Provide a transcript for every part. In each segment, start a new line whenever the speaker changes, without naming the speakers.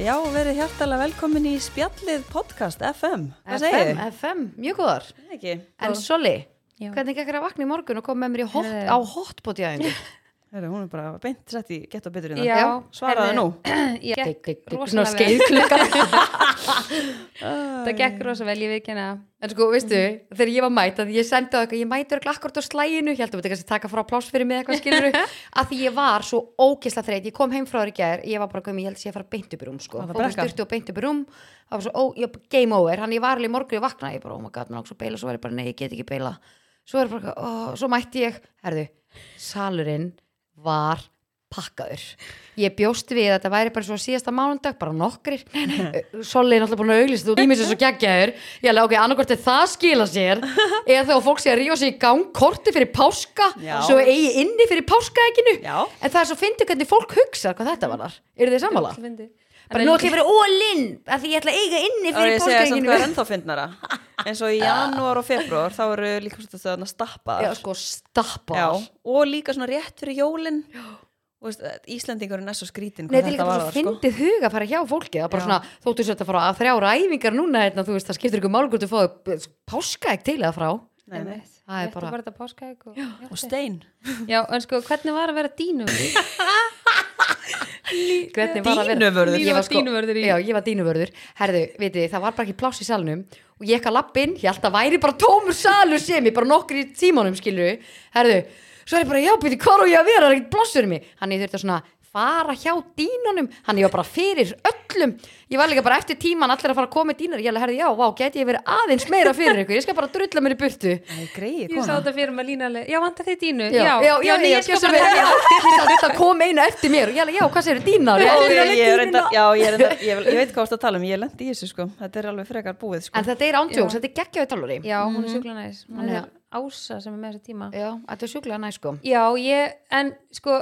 Já, verið hjartalega velkomin í Spjallið podcast FM. Hvað segir
FM, FM, mjög góðar
Ekki.
En Solli,
Já.
hvernig ekki að vakna í morgun og koma með mér í hot,
Heyrðu.
á hotbóti aðeins
Heru, hún er bara beint sett í gett og betur í
Já.
það. Svaraðu nú.
heyrðu, Ég
Gekk
gekk
rosalega vel.
rosalega skeiðklukka
Það
Það gekk rosa vel, ég veikina
En sko, veistu, þegar ég var mætt að ég sendi á eitthvað, ég mætti örgla akkord á slæginu ég held að þetta kannski taka frá pláss fyrir mig eitthvað skilur að því ég var svo ókisla þreyt ég kom heim frá þér í gær, ég var bara komið, ég held að ég að fara beint upp í rúm sko,
Var það
fór með
brekkan?
styrtu og beint upp í rúm það var svo, ó, ég bara game over, hann ég var alveg í morgun ég vaknaði, ég bara, oh my god, mér langt svo beila svo var ég bara, nei, ég get ekki beila svo, er bara, oh, svo mætti ég, herðu salurinn var pakkaður. Ég bjóst við að þetta væri bara svo síðasta mánundag, bara nokkrir Nei, nei, Solli er náttúrulega búin að auglýsa þú tímis er svo geggjaður, ég alveg ok, annarkort er það að skila sér, eða þá að fólk sé að ríða sig í gang korti fyrir páska
Já.
svo eigi inni fyrir páskaeginu
Já.
en það er svo fyndið hvernig fólk hugsa hvað þetta var þar, eru þið sammála? Bara nú ætlum ég
Ég
að vera ólinn að því ég ætla að eiga inni
Og
fyrir
ég segja samt
páskaeginu
hvað er ennþá fyndnara. En svo í janúar og februar þá eru líka svona stöðan að stappa.
Já, sko, stappa
Já. Og líka svona rétt fyrir jólinn. Og veist, Íslendingur er næst svo skrítin
Nei,
hvað
þetta er líka
þetta
bara
var
svo
það sko.
fyndið huga að fara hjá fólki það er bara
Já.
svona, þóttu sér þetta fara að þrjára æfingar núna, hérna, þú veist, það skiptir ykkur málgur þú fáið eh, páskaegg til eða frá
Nei, nei.
Það er bara,
bara þetta páskaegg og-
Og stein.
Já, en sko, hvernig var að vera dínu?
hvernig var að vera
Dýnuvörður.
Ég var sko-
Línu var dýnuvörður í.
Já, ég var dýnuvörður Herðu, vitið, þið, það var bara ekki pláss í salnum og ég ekki að lappin, ég held að væri bara tómur salur sem ég, bara nokkri tímanum skilur Herðu, svo er ég bara, já, býtti, hvar á ég að vera, það er ekki pláss fyrir mig Hann ég þurfti að svona fara hjá dýnunum hann ég var bara fyrir öllum ég var líka bara eftir tíman allir að fara að koma með dýnar ég alveg, herði, já, vá, geti ég verið aðeins meira fyrir ykkur ég skal bara drulla mér í burtu
Það er greið,
Ég sá
kona.
þetta fyrir maður línalega. Já, vantar þið dínu?
já, já, já, já,
nei,
já,
ég skal
gjörðu svo
bara-
vel, já, já, já, það kom eina eftir mér og ég alveg, já, hvað segir dínar? Já,
Já, ég,
já, já,
ég,
já,
reynda, já, ég, reynda, ég, ég veit hvað þú ert að tala um, ég lendi í þessu sko, þetta er alveg frekar búið sko.
En þetta er ándjóks, þetta er geggjaði tálari
Já, hún er sjúkla næs. Hún
Þannig
er ása sem er með þessa tíma.
Mhm. Já, þetta er sjúklega næ sko
Já, ég, en sko,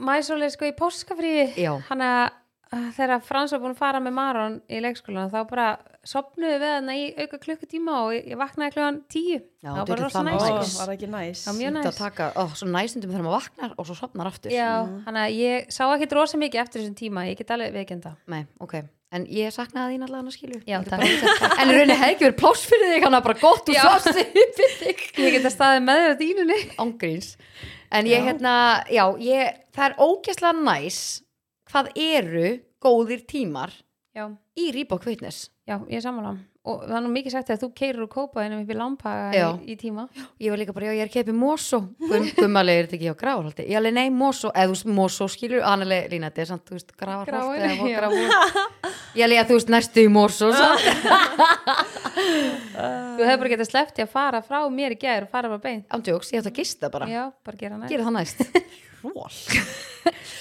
mæsóli sko í páskafríi,
Já.
hann að að þegar Frans var búin að fara með Maron í leikskólan þá bara sopnuðu við hann í auka klukkutíma og ég vaknaði klugan tíu.
Já,
það var
þetta
bara
er
rosa
Ó,
það
næs.
næs.
var það ekki næs?
Já, mjög
Sýnt
næs.
að taka, ó, svo næstundum þegar maður vaknar og svo sopnar aftur
Já, hann að ég sá ekkit rosa mikið eftir þessum tíma, ég get alveg um veikenda.
Nei, ok En ég saknaði þín allavega að skilu
Já,
Ég
takk.
bara- En í rauninni hefði ekki verið pláss fyrir þig hann að bara gott og
Já.
sást fyrir þig
Ég get að staðið með þér á dýnunni.
Ángríns En ég hérna, já, ég, það er ógeðslega næs hvað eru góðir tímar
Já,
í Reebok Fitness
já, ég er sammála. Og það er nú mikið sagt að þú keirir og kópa hennum upp í lampaga
Já.
í, í tíma.
Ég var líka bara, já, ég er keppið Mosó Gum, Gummalegi er þetta ekki á gráðhaldi Ég alveg, nei, Mosó, eða þú veist, Mosó skilur Annarlega, Lína, þetta er samt, þú veist,
Grafarholt,
gráðhaldi
já.
Ég alveg, já, þú veist, næstu í Mosó samt.
Þú hefur bara getað sleppt í að fara frá mér í gær og fara bara beint.
Ándjóks, ég ætti að gista bara
Já, bara gera næst.
Gera það næst
Ról.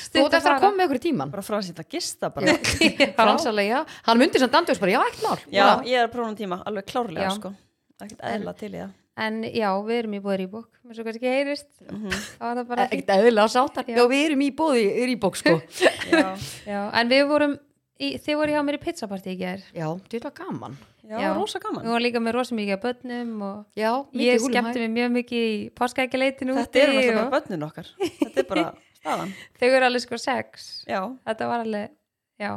Þú ert eftir að koma með ykkur í tíman
Bara frá sér að gista bara.
Fransalega, já, hann myndi samt Andjóks bara, já, ekkert mál
Já,
Bara,
ég er að prófa um tíma, alveg klárlega
Já.
sko. Ekkert eðla til í það.
En já, við erum í búið Rýbók, eins og kannski heyrist. Þá var það bara fínt.
Ekkert eðlilega sáttar
Já.
Já, við erum í bóði í Reebok, sko
Já,
Já, en við vorum, í, þið voru hjá mér í pizzapartí í gær.
Já, þetta var gaman
já,
Já.
rosa
Við
gaman.
vorum líka með rosa mikið af börnum og
Já,
ég
mikið húlum hæ.
skemmti mig mjög mikið í páskaækjaleitinu
Þetta eru náttúrulega bara börnin okkar. Þetta er bara staðan.
Þau eru alveg sko sex.
Já,
Þetta var alveg, já,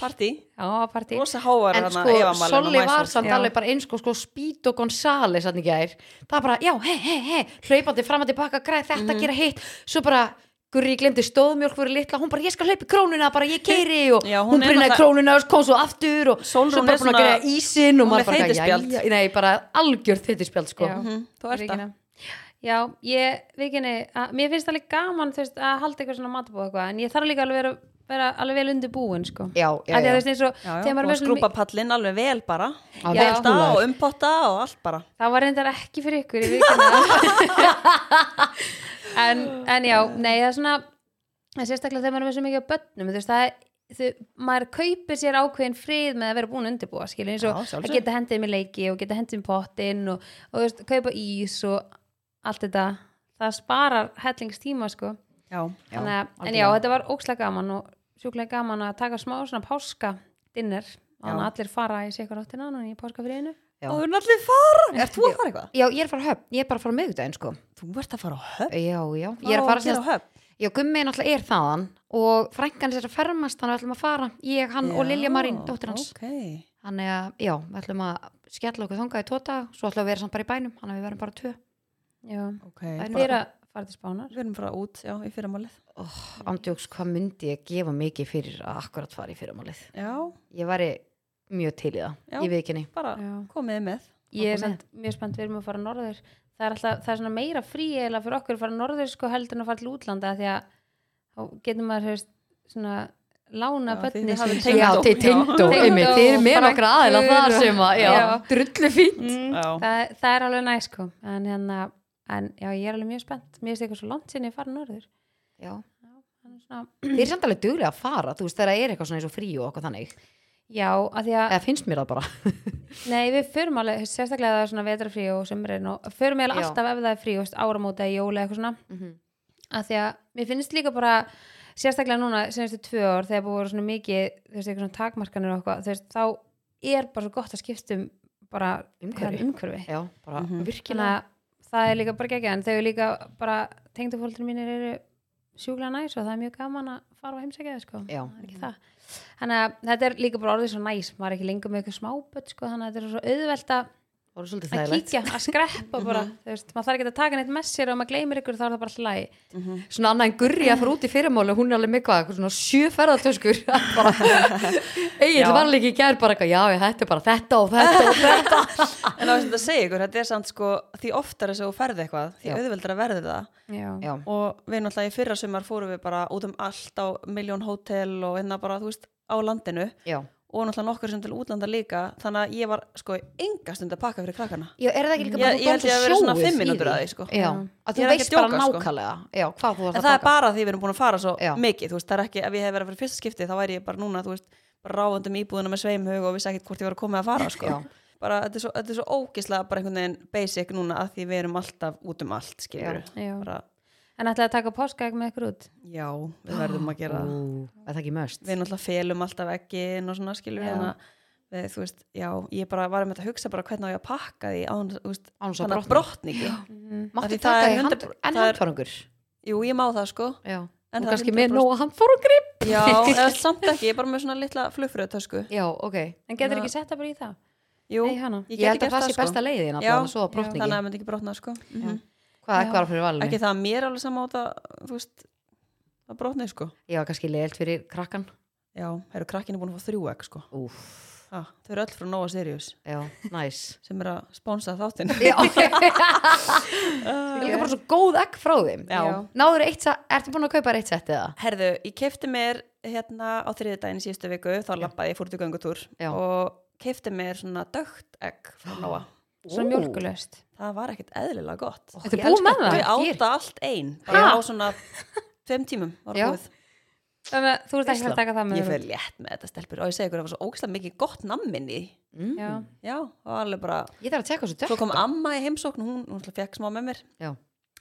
partí.
já, partí.
Rosa hávar
en
hana
sko,
Eva Malen og
Solli var
Maísól.
samt
Já.
alveg bara eins og sko Spít og Gonzales hann ekki gær það bara, já, hei, hei, hei, hlaupandi fram og tilbaka, græð þetta,
Mhm.
gera hitt svo bara, Gurri, ég glemdi stóðmjólk fyrir litla, hún bara, ég skal hlaupi krónuna, bara ég keiri og
Já, hún
hún
er
brinnaði
náttúrulega-
krónuna og kom svo aftur og
Sólrún
svo bara
er
búin að
svona-
gera
hún
ísinn og
er
maður bara,
þeytispjald.
já, já, nei, bara algjör þeytispjald sko
Já.
Mhm, Þú ert það.
Regina. Já, ég, vikinni, að, mér finnst alveg gaman þú veist, að halda eitthvað svona matabóð eitthvað en ég þarf líka alveg vera, vera alveg vel undir búin sko.
já, já,
Af því að
já.
þú veist eins og
Já, já,
þegar
búin
maður er
að
með svona
skrúpa pallin alveg vel bara.
Já, vel
Velta
húllaður.
og umpotta og allt bara.
mi- það var reyndar ekki fyrir ykkur ég viðurkenni það. en, en já, nei, það er svona en sérstaklega þegar maður er með svo mikið af börnum þú veist, það er þau, maður kaupir sér ákveðin frið með að vera búin að undirbúa skilur eins og
Já, sjálfsögðu.
að geta hendið með leiki og geta hendið með pottinn og, og þú veist, kaupa ís og allt þetta það sparar hellingstíma sko
Já,
Já,
Þannig, að- en já,
algjörlega.
þetta var ókslega gaman og sjúklega gaman að taka smá svona páska dinner, þannig að allir fara í sikur áttina núna í páskafriðinu
Já.
og þú erum allir fara. Er þú að fara eitthvað?
já, ég er að fara á höfn, ég er bara að fara á miðvikudaginn sko
Þú ert að fara á höfn.
já, já, ég er að fara
sér á
sem-
höfn.
já, Gummi náttúrulega er þaðan og frænkan sér að fermast þannig að við ætlum að fara ég, hann og Lilja Marín, dóttir hans
ok, já,
þannig að, já, við ætlum að skella okkur þangað í tóta, svo ætlum við að vera samt bara í bænum þannig að við verum bara tvö
já,
okay.
það er að fara til spánar
Við erum bara út, já, í fyrramálið.
oh, Andjóks, hvað myndi ég gefa mikið fyrir að akkurat fara í fyrramálið
Já,
ég væri mjög til í það,
Já.
ég veit ekki henni
bara
Já.
komið með.
ég er
komið.
samt mjög spennt við erum að fara norður það er alltaf, það er svona meira frí eða fyrir okkur að fara norður sko heldur en að fara til útlanda af því að þá getur maður hefst svona lána
Já, þið-
bönni
þið hafið
Já,
Tengdó,
til
já.
tindó,
Tengdó,
einmitt, þið eru með
frænkur
nokkra aðila þar sem að, já, Mm.
Já.
drullu fínt
Já,
það, það er alveg næ sko en, hérna, en já, ég er alveg mjög spennt mér finnst eitthvað svo langt sinni að fara norður
Já,
Þannig svona,
þið er samt alveg duglega að fara, þú veist, þegar það er eitthvað svona eins og frí og okkur þannig,
já, af því að
eða finnst mér það bara
nei, við förum alveg, sérstaklega ef það er svona vetrafrí og sömurinn og förum eiginlega
Já.
alltaf ef það er frí, þú veist, áramóta, jóla eitthvað svona
Mhm.
að því að mér finnst líka bara sérstaklega núna, senstu tvö ár þegar búið að vera svona mikið, þú veist, eitthvað svona takmarkanir og eitthvað, þú veist, þá er bara svo gott að skiptum bara
Umhverfi.
hérna, umhverfi.
Já, bara
Mhm.
Þannig
virkilega
að það er líka bara geggjað, en þau eru líka bara, tengdufóldur mínir eru sjúklega næs og það er mjög gaman að fara og heimsækja þau, sko.
Já.
Það er ekki það. Þannig að þetta er líka bara orðið svo næs, maður er ekki lengur með eitthvað smáböld, sko, þannig að þetta er svo auðvelt að
Það voru svolítið
að
þægilegt
kíkja, að
Mhm.
skreppa bara, þú veist, maður þarf ekki að taka neitt með sér og ef maður gleymir ykkur þá er það bara alltaf lægi.
Svona annað en gurri að fara út í fyrirmáli og hún er alveg með hvað, eitthvað svona sjö ferðartöskur bara, Egil
Já.
var líka í gær bara eitthvað, já, já, þetta er bara þetta og þetta og þetta
en það var sem þetta að segja ykkur, þetta er samt sko, því oftar þess að þú ferði eitthvað, því
Já.
auðveldar að verði það.
Já.
Já,
Og við náttúrulega í fyrra sumar fórum við bara út um allt á miljón hótel og hérna bara, þú veist, á landinu
já
og náttúrulega nokkur sem til útlanda líka, þannig að ég var sko enga stund að pakka fyrir krakkana.
Já, er það ekki líka
Ég,
bara
ég held ég að vera svona fimm mínútur að því, sko.
Já,
Ég
að þú
er ekki
veist bara
að djóka, sko.
nákvæmlega Já, hvað þú varst
En
að
það er
taka
bara því við erum búin að fara svo
Já.
mikið, þú veist, það er ekki, ef ég hef verið að vera fyrsta skipti þá væri ég bara núna, þú veist, bara ráðandum íbúðuna með sveimhug og vissi ekkert hvort ég var að koma að fara, sko.
Já.
Bara, þetta er svo, þetta er svo ógislega bara einhvern veginn basic núna að því við erum alltaf út um allt, skilur
Já. Já.
Bara,
En ætlaði að taka páskaegg með ykkur út?
já, við verðum að gera það.
Ú, Er það ekki möst?
Við náttúrulega felum alltaf ekkin og svona, skilur
Já.
við, við, þú veist, já, ég bara var með að hugsa bara hvernig á ég að pakka því án, þú veist,
Án þess að
þannig að
brotna.
brotningi. Af
Máttu
því það
taka
er
í hand,
100% það
en
er-
handfarangur
Jú, ég má það, sko.
Já,
En
og
það er
kannski með
100%
nóga handfarangur
Já, eða samt ekki, ég er bara með svona litla flugfröðutösku.
Já, ok
En getur
Ná.
ekki setta bara í það?
Jú,
Nei, hana.
Ég, held
gæti
að það
gert sko.
sko. sé besta leiðin
Já,
allavega, svo að brotni
þannig að
ekki
það myndi ekki brotna sko. Mhm.
Hvað eitthvað var fyrir valinu?
ekki það að mér er alveg sama á það þú veist, að brotni sko
Já, kannski leiðilt fyrir krakkan
já, eru krakkinu búin að fá þrjú ekki sko
Úf,
ha, þau eru öll frá Nova Sirius
já, næs
sem er að sponsa þáttinn
Já, Það er líka bara svo góð egg frá þeim
Já.
Náður eitt, sa- ertu búin að kaupa þér eitt sett eða?
herðu, ég kefti mér hérna á þriðudaginn í síðustu viku þá lappaði ég fór til göngutúr
Já.
og kefti mér svona dögt egg frá Nova
Svona mjölkulöst.
það var ekkert eðlilega gott
Ó,
Ertu
ég
búin
elska
með það?
þau
þetta. Ég-
áta allt ein bara á svona fimm tímum var
Já.
það búið
Þú ert ekki að fara að taka það með
ég fer
þér út.
létt með þetta stelpur og ég segi ykkur það var svo ógæslega mikið gott nammin í
Mm.
Já.
já, það var alveg bara
Ég þarf að tjekka þessu
Svo
dökk
kom amma í heimsókn, hún, hún fekk smá með mér.
Já.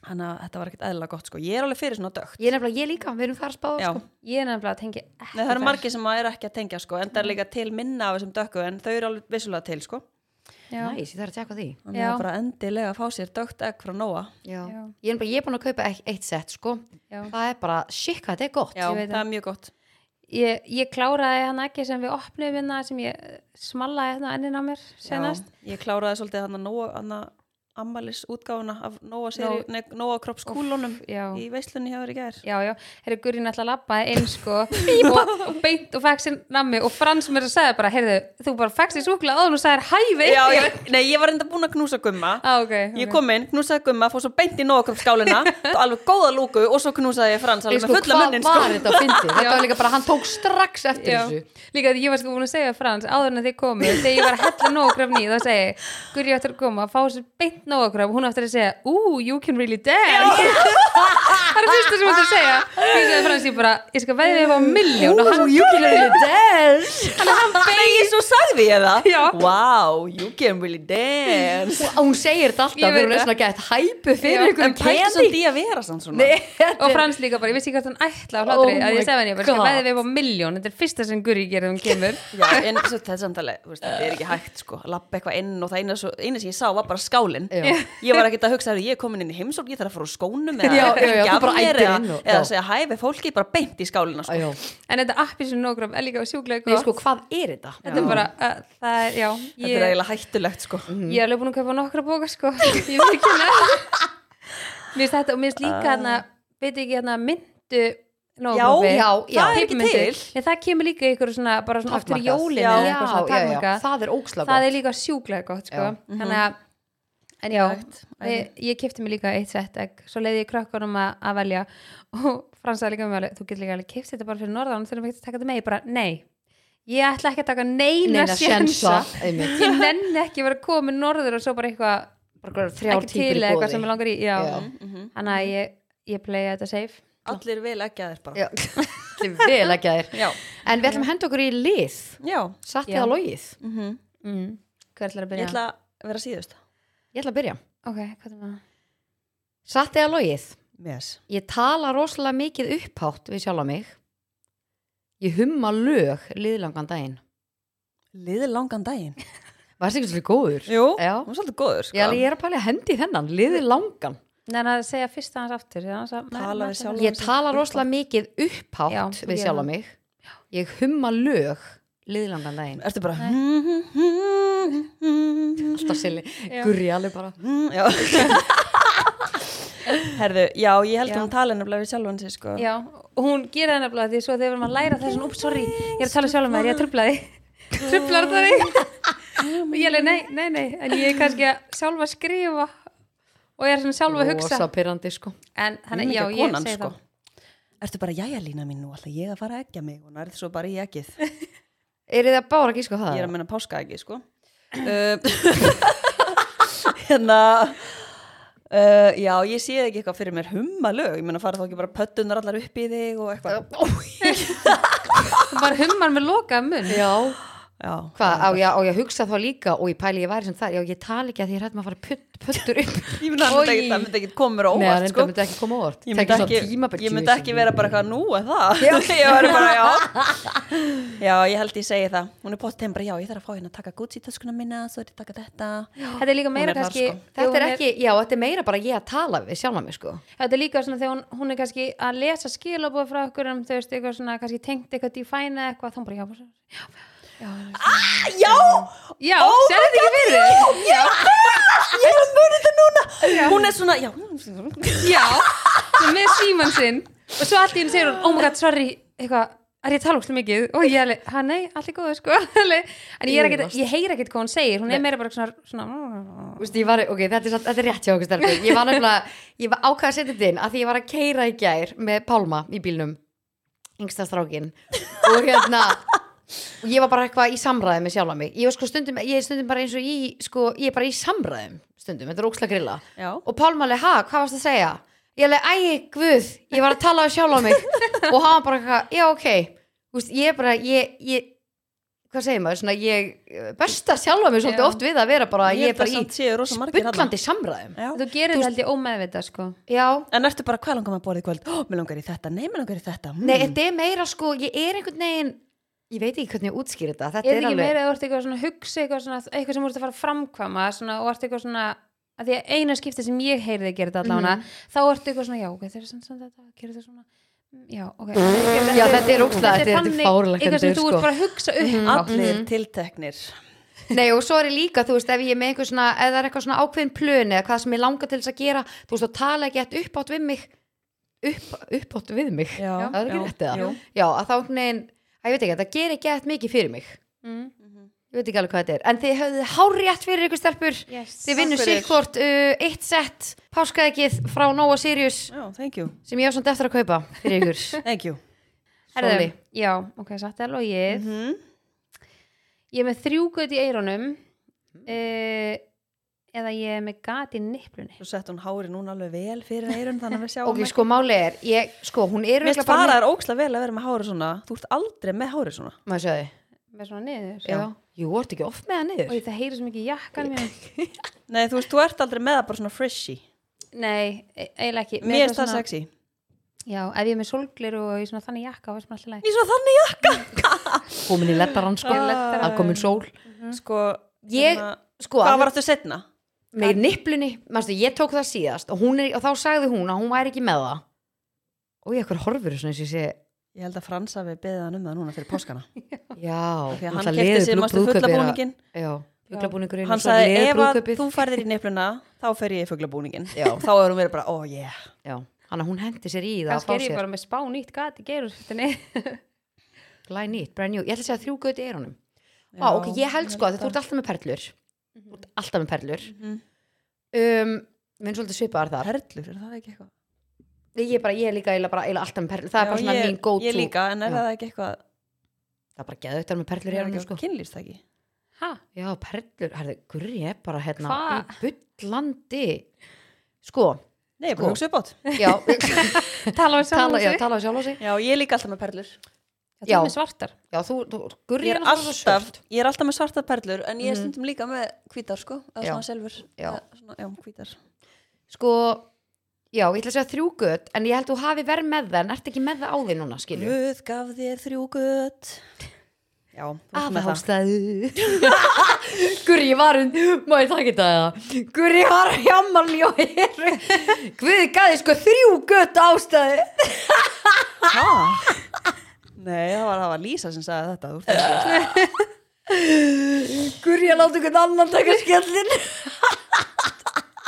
Þannig að þetta var ekkert eðlilega gott sko. Ég er alveg fyrir svona dögt.
Ég er nefnilega, ég líka, við erum þar að spá
Já.
sko.
Ég er nefnilega að tengja ekki
Nei, það eru
þar.
margir sem að er ekki að tengja sko, en það er líka til minna af þessum dökku, en þau eru alveg vissulega til sko.
Já.
Næs, ég þarf að tjekka því
Þannig
Já.
að bara endilega að fá sér dögt egg frá Nóa.
Já.
Já.
Ég er nefnilega, ég er búin að kaupa ek- eitt sett sko.
Já.
Það er bara, shit, hvað þetta er gott
Já,
Ég
það
veit það.
er mjög gott.
Ég, ég kláraði hann ekki sem við opnum hérna sem ég eh, smallaði hérna ennin á mér senast.
Já, ég kláraði svolítið hann að Nóa, hann að ammalis útgáfuna af Nóa, seri,
Nó-
nei, Nóa kroppskúlunum
já.
í veislunni hjá þér í gær.
Já, já, herri Gurinn alltaf labbaði inn sko og, og beint og fekk sér nammi og Frans mér að segja bara, heyrðu, þú bara fekkst sér súkla áður og sagði hæfi
Já, ég, nei, ég var enda búin að knúsa gumma.
Á, Ah, ok, ok.
Ég kom inn, knúsaði gumma, fór svo beint í nógakroppskálina og alveg góða lúku og svo knúsaði ég frans alveg
Sko,
með fulla
hvað
munnin
var
sko.
þetta að fyndi? Þetta var líka bara, hann tók strax eftir
Já.
þessu
Líka því ég var sko búin að segja Frans áður en þið komu, þegar ég var að hella nógraf nýð þá segi, ég, Guri ég ættir að koma að fá sér beint nógraf, hún ættir að segja Ooh, you can really dance Það er fyrsta sem hún ættir að segja Ég segi Frans, ég bara, ég skal veðið upp á
sko.
milljón og hann,
you can really dance
Nei, ég svo sagði ég það
Já.
Wow, you can really dance
og hún segir þetta alltaf við
Ég veit
erum
það.
svona gett hæpu fyrir ykkur
En pæltu samt í að vera sann svona
og Frans líka bara, ég vissi ekki hvort hann ætla á hlátri
Oh
að
my
ég segi henni, ég bara, ég skal
God.
veðið upp á milljón Þetta er fyrsta sem Guri gerir þegar hún kemur
Já, en svo þetta samtali, þú veist, þetta er ekki hægt sko Lappa eitthvað inn og það eina, svo, eina sem ég sá var bara skálin
já,
ég var ekkert að hugsa að ég er komin inn í heimsókn ég þarf að fara úr skónum eða
Já, já, já, þú
gjafir
bara æddir
eða,
inn og-
eða
já.
segja hæfi fólki bara beint í skálina
já,
sko.
já.
en þetta appi sem nógrum er líka sjúklega
Nei,
gott
sko, hvað er þetta?
þetta er bara, uh, það er, já
þetta
ég,
er eiginlega hættulegt sko.
Mhm.
ég er alveg búin að kaupa nokkra bóka sko ég veit ekki hana mér finnst þetta og mér finnst líka hérna veit ekki hérna myndu
Já,
Ah. já, já.
Það er ekki til.
en það kemur líka ykkur svona bara svona aftur í
Takmarkað.
jólinu
já,
eða
já,
eitthvað svona
já, já,
takmarkað.
það er óksla
það
gott
er líka sjúklega gott sko.
Já. Mhm.
þannig að en já,
Geðveikt. Æði.
ég, ég kefti mér líka eitt sett egg, svo leiði ég krökkunum að, að velja og fransaði líka með mér alveg, þú getur líka alveg keft þetta bara fyrir norðan þegar maður getur taka þetta með, ég bara nei ég ætla ekki að taka neina,
neina sjensa
sjensa ég nenni ekki að vera komin norður og svo bara eitthvað
þrjár
ekki til eða eitthvað sem
típur
ég
í
langar í já.
Já.
Mhm.
þannig að ég, ég playa þetta safe
allir vil ekki að þér bara
bóði það er vel ekki að þér
já,
en við ætlum að henda okkur í lið
já.
satt
Já.
eða logið
mhm.
mm. hver ætlar að
ég
byrja?
ætla að vera síðust
ég ætla að byrja
ok, hvað er maður?
satt eða logið
yes.
ég tala rosalega mikið upphátt við sjálfa mig ég humma lög liðlangan daginn
liðið langan daginn
var það ekki svolítið góður
jú,
Já.
hún er svolítið góður
Já,
sko.
ég er að pæla að hendi þennan, liðið langan
Nei, en að segja fyrst aðeins aftur aðeins að
Tala við sjálfan
Ég
sig
tala
upphátt.
rosalega mikið upphátt
Já,
við
ég
sjálfa
það.
mig Ég humma lög liðlangan daginn
ertu bara
Nei.
Alltaf silli,
Já.
gurri alveg bara
já herðu, já, ég held
Já.
að hún tala nefnilega við sjálfan sig sko.
Já, og hún gerir það nefnilega því svo þegar maður læra þessan, upp, sorry, ég er að tala sjálf um þær, ég trubla því, trublar það því. Og ég er alveg, nei, nei, nei, en ég er kannski að sjálf að skrifa og ég er svona sjálf að hugsa.
Rosa pirrandi sko
Hún
En
er
þannig, já,
ekki
ég
konan,
segi
sko.
það.
Ertu bara jæja lína mín nú, alltaf ég að fara að eggja mig og nærð svo bara í eggið.
Er þið að bára ekki sko það?
Ég er að menna páska ekki, sko. Uh, hérna, uh, já, ég sé ekki eitthvað fyrir mér humma lög, ég menna fara þá ekki bara pöttunar allar upp í þig og eitthvað.
Þú bara hummar með lokað munn.
Já
Já,
Hvað, á ég, á ég að hugsa þá líka og ég pæli ég væri sem það Já, ég tala ekki að því ég rætt maður að fara putt, puttur upp
ég menna það myndi
Oj.
ekki, það myndi ekki koma mér á
Nei,
óvart,
reyndar
sko.
myndi ekki koma á óvart
Ég
Tæki
myndi,
svona
ekki,
tímabil
ég myndi
tíu
ekki
sem-
vera bara eitthvað nú að það Ég var bara, já Já, ég held ég segi það Hún er bótt heim bara, já, ég þarf að fá hérna að taka Gucci töskuna minna Svo er ég að taka þetta
Þetta er líka
Hún er
meira
þar,
kannski,
sko.
þegar
Þetta er
hún
ekki, já, þetta er meira bara ég að tala við sjálfa mig sko
Þetta er líka svona þegar hún, hún er kannski að lesa skilabóð frá okkur um, þú veist, eitthvað svona, kannski tengt eitthvað define eða eitthvað, þá hún bara, já, bara, já, já, já,
Já,
já, oh sér þetta ekki fyrir þér?
já, ég er að muna þetta núna Hún er svona, já
Já, svona með síman sinn og svo allt í henni segir hún, oh my god, sorry eitthvað, er ég að tala úrslega mikið og ég alveg, ha nei, allt er góð, sko alveg, en ég, er ekkit, ég heyr ekkert hvað hún segir hún er meira bara svona, svona
Þú veist, ég var, ok, þetta er, satt- þetta er rétt hjá okkur stelpur ég var nefnilega, ég var ákvað að setja þetta inn að því ég var að keira í gær með Pálma í bílnum, yngsta strákin og hérna og ég var bara eitthvað í samræði með sjálfa mig ég var sko stundum, ég er stundum bara eins og í sko, ég er bara í samræðum stundum, þetta er óksla grilla
Já,
og Pálma alveg, ha, hvað varst að segja? Ég alveg, æ, guð, ég var að tala á sjálf á mig og hann bara eitthvað, já, ok Þú veist, ég er bara, ég, ég hvað segir maður, svona, ég eh, besta sjálfa mig svolítið
Já.
oft við að vera bara, ég, er bara í
Séu rosa margir þarna.
bullandi samræðum
Já.
þú gerir þetta held ég ómeðvita, sko
já,
En ertu bara, hvað langar maður að borða í kvöld? Ó, mér langar í þetta, nei, mér langar í þetta mm.
nei, þetta er meira sko ég er einhvern veginn, ég veit ekki hvernig ég útskýr þetta þetta er,
er þetta ekki
alveg,
meira að þú ert eitthvað svona að hugsa eitthvað, svona, eitthvað sem þú ert að fara að framkvæma svona, og ert eitthvað svona að því að eina skipti sem ég heyrði að gera þetta allavega
Mhm.
þá ertu eitthvað svona, já, ok, þeir eru samt samt þetta gera þetta svona, mm, já, ok
Já, þetta er ógeðslega- þetta er- þetta er
þannig-
fáránlegt
eitthvað sem
endur,
þú
sko.
ert bara að hugsa upp á.
Allir
Mhm.
tilteknir
nei og svo er ég líka þú veist, ef ég er með einhver svona, ef það er eitthvað svona ákveðin plöni eða hvað sem ég langar til þess að gera þú veist, þá tala ekki eftir uppátt við mig upp, uppátt við mig
Já,
það er ekki
já,
rétt eða,
jú.
já, að þá einhvern veginn að ég veit ekki, það gerir ekki eftir mikið fyrir mig
Mm.
Mhm.
ég veit ekki alveg hvað þetta er, en þið höfðu hárétt fyrir ykkur stelpur
Yes.
þið vinnum
Takk fyrir.
sikkvort uh, eitt sett páskaðegið frá Nóa Sirius
Já, thank you,
sem ég á samt eftir að kaupa fyrir ykkur
thank you
Herðu,
Sóli.
Já, ok, satt er logið
Mhm.
Ég er með þrjú gött í eirónum
Mhm.
uh, eða ég er með gat í nipplunni
Svo sett hún hári núna alveg vel fyrir eirun þannig að við sjáum
ok, sko máli er, ég, sko, hún er
Mér
örugglega
finnst bara það er ókslega vel að vera með hári svona Þú ert aldrei með hári svona
með- maður sjáði,
með svona niður
já, jú, ertu ekki oft með hann
og
niður
það heyrir svo mikið í hérna. jakkan mér
Nei, þú veist, þú ert aldrei með það bara svona freshy
Nei, e- eiginlega ekki
Mér finnst
finnst
það sexy
Já, ef ég er með solglir og í svona þannig jakka þá er svona alltaf læg
Í svona þannig jakka
komin í lettarann, sko,
Í lettarann.
að komin sól
Sko,
Ég-
hérna,
sko,
hvað
að-
var aftur setna?
með nipplunni, manstu, ég tók það síðast og, hún er, og þá sagði hún að hún væri ekki með það og ég ekkur horfur svona eins og ég sé
Ég held að Frans hafi beðið hann um það núna fyrir páskana
já,
Því að hann kefti sér mástu
hérna.
fuglabúningin
fuglabúningurinn
Hann sagði ef að þú færðir í nefnuna þá fer ég í fuglabúningin
Já.
Þá erum við bara, oh yeah
hann að hún hendi sér í það að fá
kannski er ég
sér
bara með spá nýtt gat í geirurskuttinni
glæð nýtt, brand new, ég ætla að segja þrjú göti er honum
Já,
Vá, ok, ég held sko að þú ert alltaf með perlur
Mhm.
Þú ert alltaf með perlur um, minn svolítið svipaðar þar
Perlur, er það ekki eitthvað?
ég er bara, ég er líka eiginlega bara, eiginlega alltaf með perlur það er
Já,
bara svona
ég-
mín go-to
Ég líka, en er
Já.
það ekki eitthvað
það er bara geðaukt að vera með perlur
er
í
það
erum
ekki
sko.
eitthvað kynlýfstæki?
ha,
já, perlur, herðu, gurri ég er bara hérna
Hva?
í bullandi sko,
Nei, ég er bara að
Sko.
hugsa upp átt
já
tala
tala,
við saman
já, tala á sjálf á sig
Já, ég er líka alltaf með perlur
þú
Já.
er með svartar
já, þú, þú gurri
Ég er alltaf, ég er alltaf með svarta perlur en ég er stundum líka með hvítar sko eða
Já.
svona selvur
Já.
eða svona, já, hvítar
sko, já, ég ætla að segja þrjú gött en ég held þú hafi verið með það en ert ekki með það á því núna, skilju
Guð gaf þér þrjú gött Já, þú ert með það
aðhástaðu Guri var um má ég taka þetta eða Guri var hjammarni og heru Guð gæði sko þrjú gött ástæðu
Ha? Nei, það var, það var Lísa sem sagði þetta þú ert með það.
Guri að láta einhvern annan taka skellin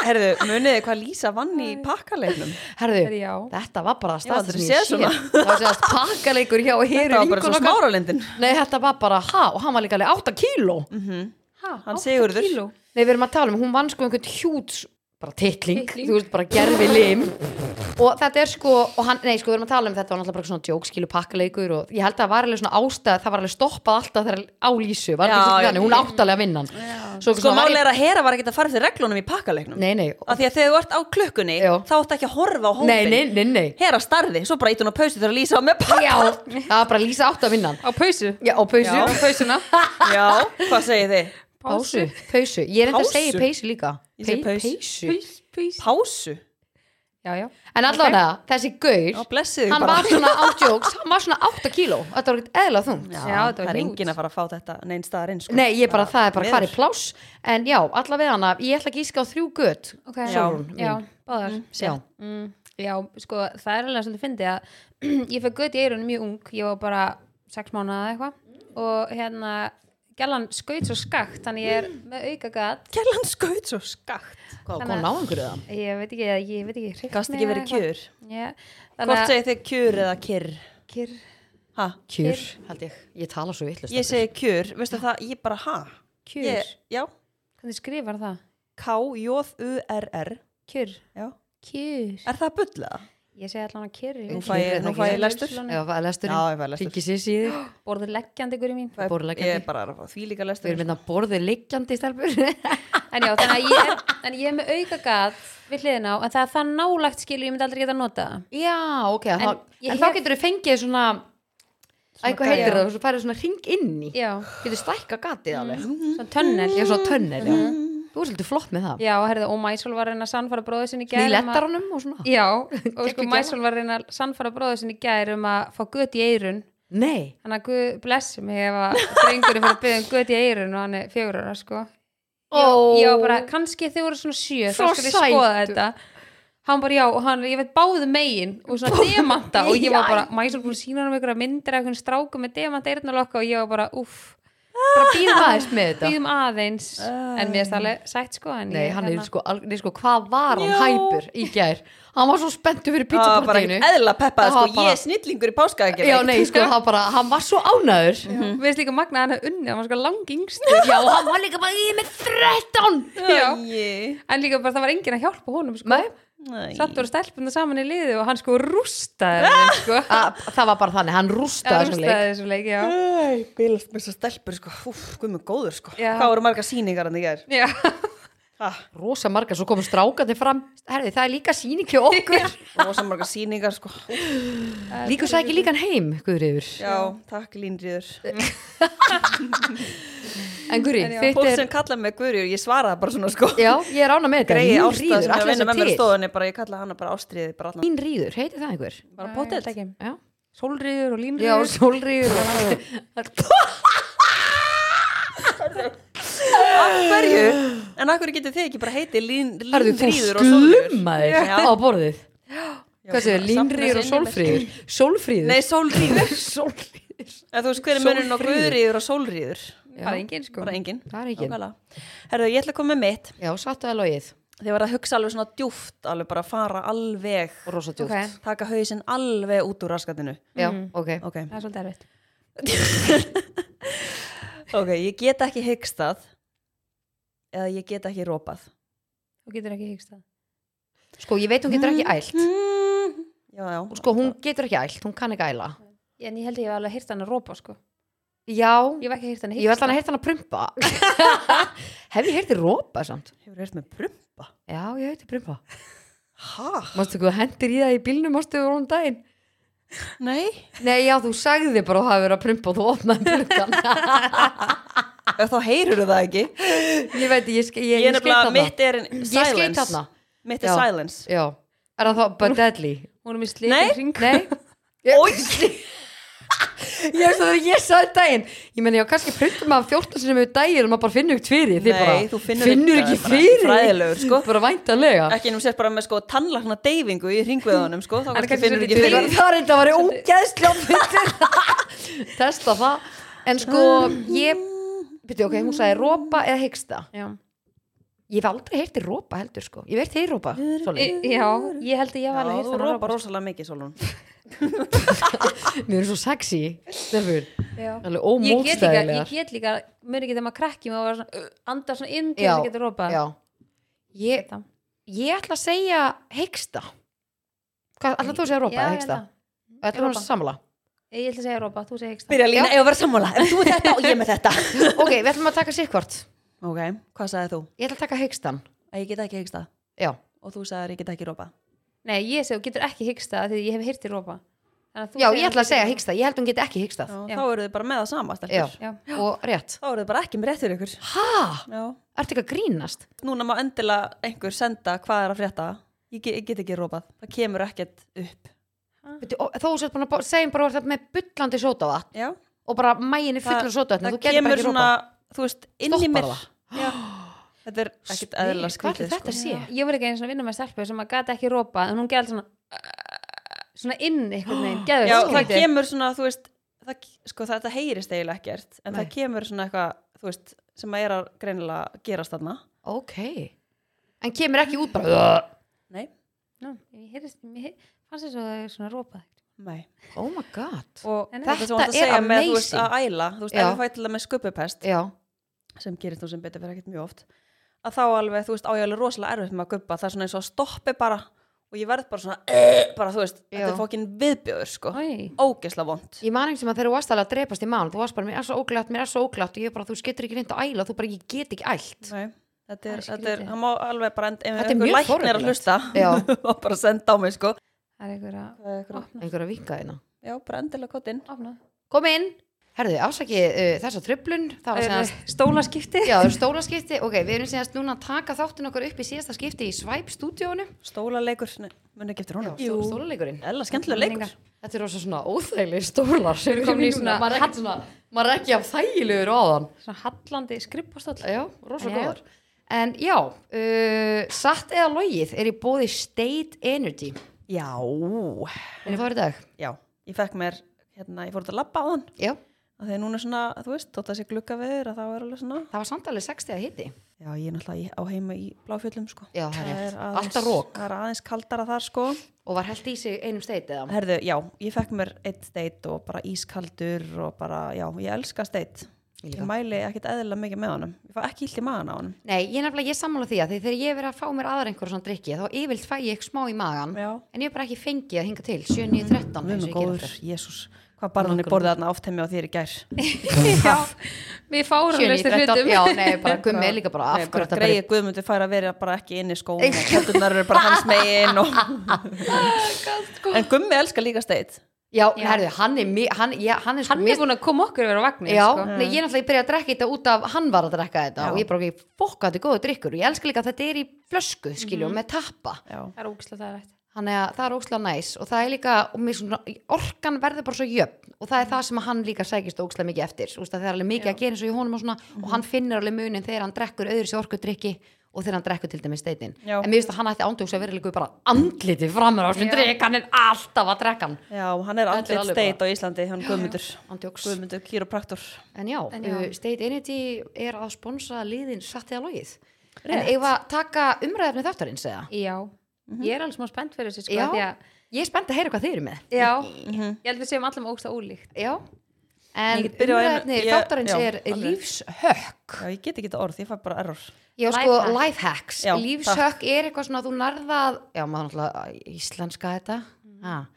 Herðu, muniði hvað Lísa vann í pakkalegnum
Herðu,
já,
þetta var bara
Ég hef aldrei
stafn
séð svona.
það var séðast pakkaleikur hjá
Þetta
heru
var bara svo
vinkonokar
smáralindin
Nei, þetta var bara, ha, og hann var líka alveg 8 kíló
ha,
Hann
átta
Sigurður.
kíló.
Nei, við erum að tala um, hún vann sko einhvern hjúts bara titling,
Titling.
þú veist bara gerfi lim og þetta er sko og hann, nei sko við erum að tala um þetta var náttúrulega bara svona djók skilu pakkaleikur og ég held að það var alveg svona ástæð það var alveg stoppað alltaf þegar á lísu
Já,
var ekki
já,
svolítið þannig, hún
já.
áttalega vinnan svo,
Sko, máli er að Hera var ekkert að fara eftir reglunum í pakkalegnum
nei, nei,
Af því að þegar þú ert á klukkunni
Já.
þá ert ekki að horfa á hópin
nei, nei, nei, nei
Hera starði, svo bara eitt hún á pausi þegar Lísa var með pakka
já, það var bara lísa átt að vinnan
á pausu
já, og pausu,
Já.
á pausuna
Já, hvað segið þið?
pásu, pausu ég er enda að
Pásu?
segja pausu líka
Ég segi
Pei-
pausu.
pausu,
paus
Pásu?
já, já,
en allavega þessi
Já,
gaur
blessið
hann var svona á djóks, hann var svona 8 kíló þetta var ekkert eðla þungt
Já,
Já, þetta var
það er
huge.
enginn að fara að fá þetta neinn staðar inn sko.
Nei, ég bara, það er bara hvar í
miður.
pláss En já, allavega hana, ég ætla ekki íska á þrjú gött
ok
Sólrún
mín.
já, báðar
Já,
Mm, já, sko, það er alveg svolítið fyndið að ég fekk gött í eirunum mjög ung ég var bara sex mánuða eitthvað og hérna, gælan skaut svo skakt þannig ég er með auka gat
Kjellan skaut svo skakt
hvað
Þannig
kom
að-
ná einhverju það?
ég veit ekki, ég veit ekki hreykni
Gast ekki
eða
verið
eitthvað.
kjur
Já,
Hvort
þannig að
segið þið kjur eða kyrr?
kjur
Ha?
Kjur, held ég, ég tala svo vittlust
Ég segi kjur, veistu það, ég bara ha?
Kjur?
Ég, já,
hvernig skrifar það?
K-J-U-R-R
kjur,
Já,
kjur
er það bullað?
ég segi allan að kjur
Nú fæ ég- nú fæ ég lestur.
Já, hvað er
Já,
lesturinn?
ég fæði lestur
Ringi sér síði,
borðið leggjandi ykkur í mín
Það er-
borðleggjandi.
Ég er bara að fá því líka
við
lestur
erum hérna borðið liggjandi stelpur
en já, þannig að ég er, en ég er með auka gat við hliðin á, en það er það nálægt skilu ég myndi aldrei geta að nota það
Já, ok, en,
ég
en þá
hef-
getur þau fengið svona Æ, hvað heitir
gæja.
það, svo færið svona ring inn í
já,
Getur stækka gatið alveg
svona tönnel
Mm.
Ég er svona tönnel, já Þú er svolítið flott með það
Já, herðið, og Mæsól var að reyna að sannfara bróðu sinni í
Ný
gær um að-
lettar honum og svona
Já, og sko
Geggjuð
Mæsól var að reyna að sannfara bróðu sinni í gær um að fá gött í eirun
Nei,
Þannig að Guð bless mig ef að drengurinn fyrir að byggja um gött í eirun og hann er fjögur ára, sko
Ó.
Ég ég var bara, kannski þau voru svona sjö þá
Svo
skal ég skoða
sætur.
þetta Hann bara já, og hann, ég veit báðu megin og svona demanta og ég var bara Mæsól búin að sína hann um einhverja myndir af einhvern stráku með demanta eirnalokka og ég var bara, uff bara býðum
aðeins með þetta
býðum aðeins en mér er það alveg sætt sko en
Nei,
ég,
hann er
hérna-
sko, al- nei, sko hvað var hann
Já.
hæpur í gær? Hann var svo spenntu fyrir
Það var bara
pizzapartíinu.
ekkert eðla peppað
Það
sko,
var bara-
Ég er snillingur í páskaðegjum
Já, nei, sko, hann bara, hann var svo ánæður.
Mér finnst líka magna að hann er unni, hann var sko langingst
Já, hann var líka bara, ég er með 13!
Já. En líka bara það var enginn að hjálpa honum sko.
Nei,
Satt voru stelpunna saman í liði og hann sko rústaði þeim, sko.
a, það var bara þannig, hann
Hann
rústaði svona leik.
Rústaði þessu leik, já
Æ, bílast með þessar stelpur sko, úf, guðmur góður sko.
Já.
Hvað voru marga sýningar hann í
Mm.
gær?
Já,
Ah,
Rosa margar, svo komum strákandi fram, herði, það er líka sýningi okkur.
rosa marga sýningar sko. Úf,
Líka sæki líkan heim, Guðriður.
já, takk Línriður.
Eh, En Guðri,
En já.
þitt
Fólk
er,
sem kallaði mig Guðriður, ég svaraði bara svona sko.
já, ég er ánæg með þetta.
Greiði
Mín
ástað
ríður,
sem er að
allir
vinna með mér í
til.
stofunni, bara ég kallaði hana bara ástriði, bara allan.
Mín ríður, heitir það einhver?
Bara
potið
potið.
Já,
Sólriður og
já
línriður
sólríður.
af hverju en af hverju getur þið ekki bara heiti lín,
Herðu, þú
línfríður og sólfríður
sklumaðir
Já.
á borðið
Já,
Hvað séu,
safna
línrýður og
sinni
sólfríður Sólfríður
nei sólríður
Sólfríður
en þú veist hver er munurinn á
Sólfríður.
guðríður og sólríður
bara engin sko
bara engin
Það er ekki
Nákvæmlega. herðu ég ætla að koma með mitt
Já, sattu að logið
þið var að hugsa alveg svona djúft alveg bara fara alveg
og rosa djúft
Ok.
taka hausinn alveg út úr raskatinu
Já,
Mhm.
Mm. ok
ok,
það er svolítið erfitt
ok, ég get ekki hyggstað eða ég get ekki rópað
þú getur ekki hyggst það
Sko, ég veit hún getur ekki ælt
já, já,
Sko, hún getur ekki ælt, hún kann ekki æla
en ég held ég hef alveg hýrt hann að rópa sko
Já,
ég hef ekki hýrt hann að
ég held
hyggst
hann að heyrta hann að prumpa Hef ég heyrti rópa samt?
hefur hérst með prumpa
Já, ég heyrti prumpa
hæ?
Mástu hvað þú hendir í það í bílnum, mástu við rónum daginn
nei
Nei, já, þú sagði bara að það hafi verið að prumpa og þú opnaði pluggan.
Ef þá heyrur það ekki
ég veit, ég, ske- ég,
Ég er
ég skeitt
nefnilega,
þarna.
mitt er en-
Ég skeitt
silence
þarna,
Mitt er
Já.
silence
já. Er það þá bara deadly?
hún er með
Nei.
slíkinn hring
Nei. Ég veist það þegar ég sagði daginn Ég meni, já, kannski prumpa maður 14 sinni með daginn og maður bara finnur ekkert fyrir því
Nei,
bara,
þú finnur
ekki,
ekki- það er bara
fyrir því.
fræðilegur, sko.
Bara væntanlega
Ekki nú sett bara með sko tannlakna deyfingu í ringveðunum sko Þá
En
kannski
kannski
finnur
svolítið
ekki
Það
fyrir
var- það er enda að vera ógeðslega fyrir Testa það En sko, ég
Mm.
Byrju, ok, hún sagði rópa eða hyggsta
já.
Ég hef aldrei heyrti rópa heldur sko Ég hef heyrti þig rópa
Í,
Sóley.
já, ég held ég hef
Já,
alveg hýrt
þú
hann að
rópa
rópa
rosalega mikið Solon
Mér erum svo sexy Stelfur
Já.
Alveg
ég get líka, ég
ómótstæðilegar
get líka mér ekki þegar maður krakki maður var svona, uh, andar svona inn til
Já,
þess að geta rópa
Já Ég,
Þetta.
ég ætla að segja hyggsta Hvað, ætla þú að segja rópa eða hyggsta? Ætla hún
Rópa.
að samla
ég ætla að segja rópa, þú segir hyggsta
Byrja lína, ég var sammála En þú er þetta og ég með þetta
Ok, við ætlum að taka sérkvort
Ok, hvað sagði þú?
Ég ætla að taka hyggstan
Að ég get ekki hyggsta
Já,
Og þú sagðir ég get ekki rópa
nei, ég segi, þú getur ekki hyggsta af því ég hef hýrt í rópa Þannig þú
já
segir
ég
að
ætla
þú
að segja
getur-
hyggsta Ég held hún get ekki hyggstað
Já,
Já.
Þá eru þið bara með það sama
Já,
stelpur
Já.
og rétt
Þá eru þið bara ekki með rétt fyrir ykkur
Hæ?
Já
Ertu ekki að grínast?
Núna má endilega einhver senda hvað er að frétta Ég get, ég get ekki rópað Það kemur ekkert upp
Bíddu, og Þó þú sért búin að bá- segjum bara að þú ert með bullandi sótavatn
Já
og bara mæginni fullur sótavatn
það
þú getur bara
kemur
ekki
svona,
rópa
þú veist, inn í
Stoppar
mér
það?
Já. þetta er ekkert
Spyr,
eðla
hvað ætli
skrítið sko.
þetta sé?
Já, ég var ekki einu svona að vinna með stelpu sem að gata ekki rópa en hún gæði svona uh, svona inn einhvern veginn, gæði
Já, það kemur svona, þú veist það, sko, þetta heyrist eiginlega ekkert en það
Nei.
kemur svona eitthvað, þú veist sem að er að greinilega gerast þarna
Ok En kemur ekki út bara
Nei,
Nú, ég heyrist, mér heyrist, fannst þess að það er svona rópað
nei
Oh my god
og
Nei, nei.
þetta sem þú varst
Þetta
að
er
segja með, þú veist,
amazing.
að æla þú veist,
Já.
ef við fætilega með sköpupest
Já,
sem gerist þú sem betur fyrir ekkert mjög oft að þá alveg, þú veist, á ég alveg rosalega erfitt með að guppa það er svona eins og að stoppi bara og ég verð bara svona, bara, þú veist þetta
Já.
er fókin viðbjöður, sko
Oi.
ógesla vond
ég man ekki sem að þegar þú varst alveg að drepast í mán þú varst bara, mér er svo óglætt, mér er svo óglætt og ég bara, þú getur ekki reynd að æla, þú bara, ég get ekki ælt
Nei, þetta er, þetta
Það er
er,
skrítið.
hann má alveg bara enda, ef
Þetta er
einhver
mjög
læknir er að
forvitnilegt.
hlusta
Já.
má bara senda á mig sko
það er einhver að opna,
Einhver að vinka þeina
Já, bara endilega kottinn
opna.
Kom inn Herðu, afsaki uh, þessa tröflun Það var senast
stólaskipti
Já, það eru stóla skipti, ok, við erum senast núna að taka þáttin okkur upp í síðasta skipti í Svæp stúdíónu
Stólaleikur, nei, muni ekki eftir honum
Stó- Stólaleikurinn
Ella skemmtilega leikur
Þetta er rosa svona óþægilegir stólar sem
komin í
í svona,
svona-
maður er ekki svona maður er ekki af þægilegur á þann
svona hallandi skrippastóll
Já, rosa
Já.
góðar En já, uh, satt eða logið er í bóði State Energy
Já,
En það er í dag
já, ég fekk mér hérna, ég fór út að labba á hann
Já,
Þegar núna er svona, þú veist, þótt að sé glugga veður að þá er alveg svona
það var samt alveg 60 að hitti
Já, ég er náttúrulega í- á heima í bláfjöllum sko
Já, það er rétt.
aðeins-
Alltaf rok.
Það er aðeins kaldara þar sko
og var held í sig einum State eða
Herðu, já, ég fekk mér eitt steit og bara ískaldur og bara, já, ég elska steit Ég
Ég líka.
mæli ekkert eðlilega mikið með honum Ég fá ekki illt í maðan á honum
Nei, ég er nefnilega, ég sammála því að því þegar ég hef verið að fá mér aðra einhverjum svona drikki þá yfirlt fæ ég smá í magan
Já.
en ég hef bara ekki fengið að hinga til 7.9.13
Við
eins
erum
og ég gera
góður, jésús Hvað barðan er borðið þarna oftemi á þér í gær
já, við fárum löstu
fyrir
hlutum
7.9.13, já, nei, bara gummi er líka bara af
Nei,
hverju
bara
þetta
greið guðmundur fær að vera bara ekki inn í skóm og kjöldurnar eru bara hans megin og... En gummi elskar líka steit
Já, herðu, hann er, mi- hann, já, hann er sko
hann er búin að koma okkur yfir á vagnin
Já,
sko.
nei, ég er náttúrulega byrjaði að drekka þetta út af hann var að drekka þetta og ég bara ekki Mhm. fokka þetta er góður drikkur og ég elska líka að þetta er í flösku skilju, með tappa
Já,
það er ógislega það er
þannig að það er ókslega næs og það er líka, og mér svona, orkan verður bara svo jöfn og það er það sem að hann líka sækist ókslega mikið eftir, Úst, það er alveg mikið að gera eins og í honum og svona,
Mhm.
og hann finnir alveg munin þegar hann drekkur öðru sér orkudrykki og þegar hann drekkur til dæmis steitin,
Já.
en mér finnst að hann ætti ándjóks að vera líka bara andliti framur á þessum
Já.
drykk, hann er alltaf að drekka hann
Já, hann er
Þetta er
andlit
alveg
steit á Íslandi, hann Guðmundur
ándjóks,
Guðmundur kýropraktor
en já,
En
en
já.
State Energy er að sponsa liðin satt eða logið, en eigum við að taka umræðefni þáttarins eða?
Já, ég er alveg smá spennt fyrir þessu sko,
Já.
af því að, Mhm.
Ég er spennt að heyra hvað þið eru með.
já ég held við séum allir með ógsta ólíkt
Já, en
Ég get byrjað á einu-
umræðefni
ég-
þáttarins
já,
er
alveg.
lífshökk.
Já, ég get ekki þetta orð, ég fæ bara error
Já, sko,
Lifehack.
lifehacks.
Já,
Lífshökk er eitthvað svona að þú nærðað, já, maður náttúrulega íslenska þetta.
Mhm.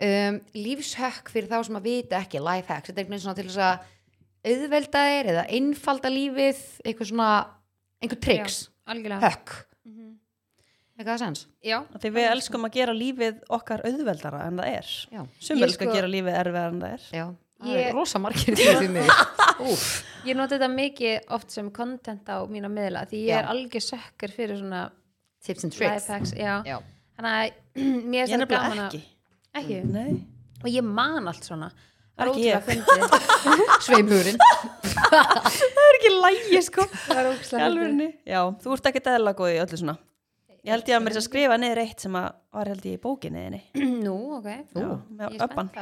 Mm. Um, lífshökk fyrir þá sem að vita ekki lifehacks. Þetta er einhvern veginn svona til þess að auðvelda þér eða einfalda lífið, eitthvað svona, einhver tricks.
Já, algjörlega
Hökk.
Mhm.
Eitthvað að sens?
Já,
Því við elskum að gera lífið okkar auðveldara en það er
Já.
Sum
Ég
elskar
sko-
að gera lífið erfiðar en það er
Já. Það
Ég-
er rosa margir því því mig. Úf.
ég noti þetta mikið oft sem content á mína miðla því ég
Já.
er algjör sökkur fyrir svona
Tips and tricks.
lifehacks já.
Já.
Þannig að mér er
Ég er
þetta gaman
nefnilega
að
ekki
ekki.
Nei,
og ég man allt svona Það er
Ekki
ótrúlega fyndið
Sveimhurinn.
það er ekki lægi sko
Það er ótrúlega fyndið
Alvörni. Já, þú ert ekki dæðla góð í öllu svona Ég held ég að mér þess að skrifa niður eitt sem að var held ég í bókinni þinni
Nú, ok
Já,
ég
með
er
öppan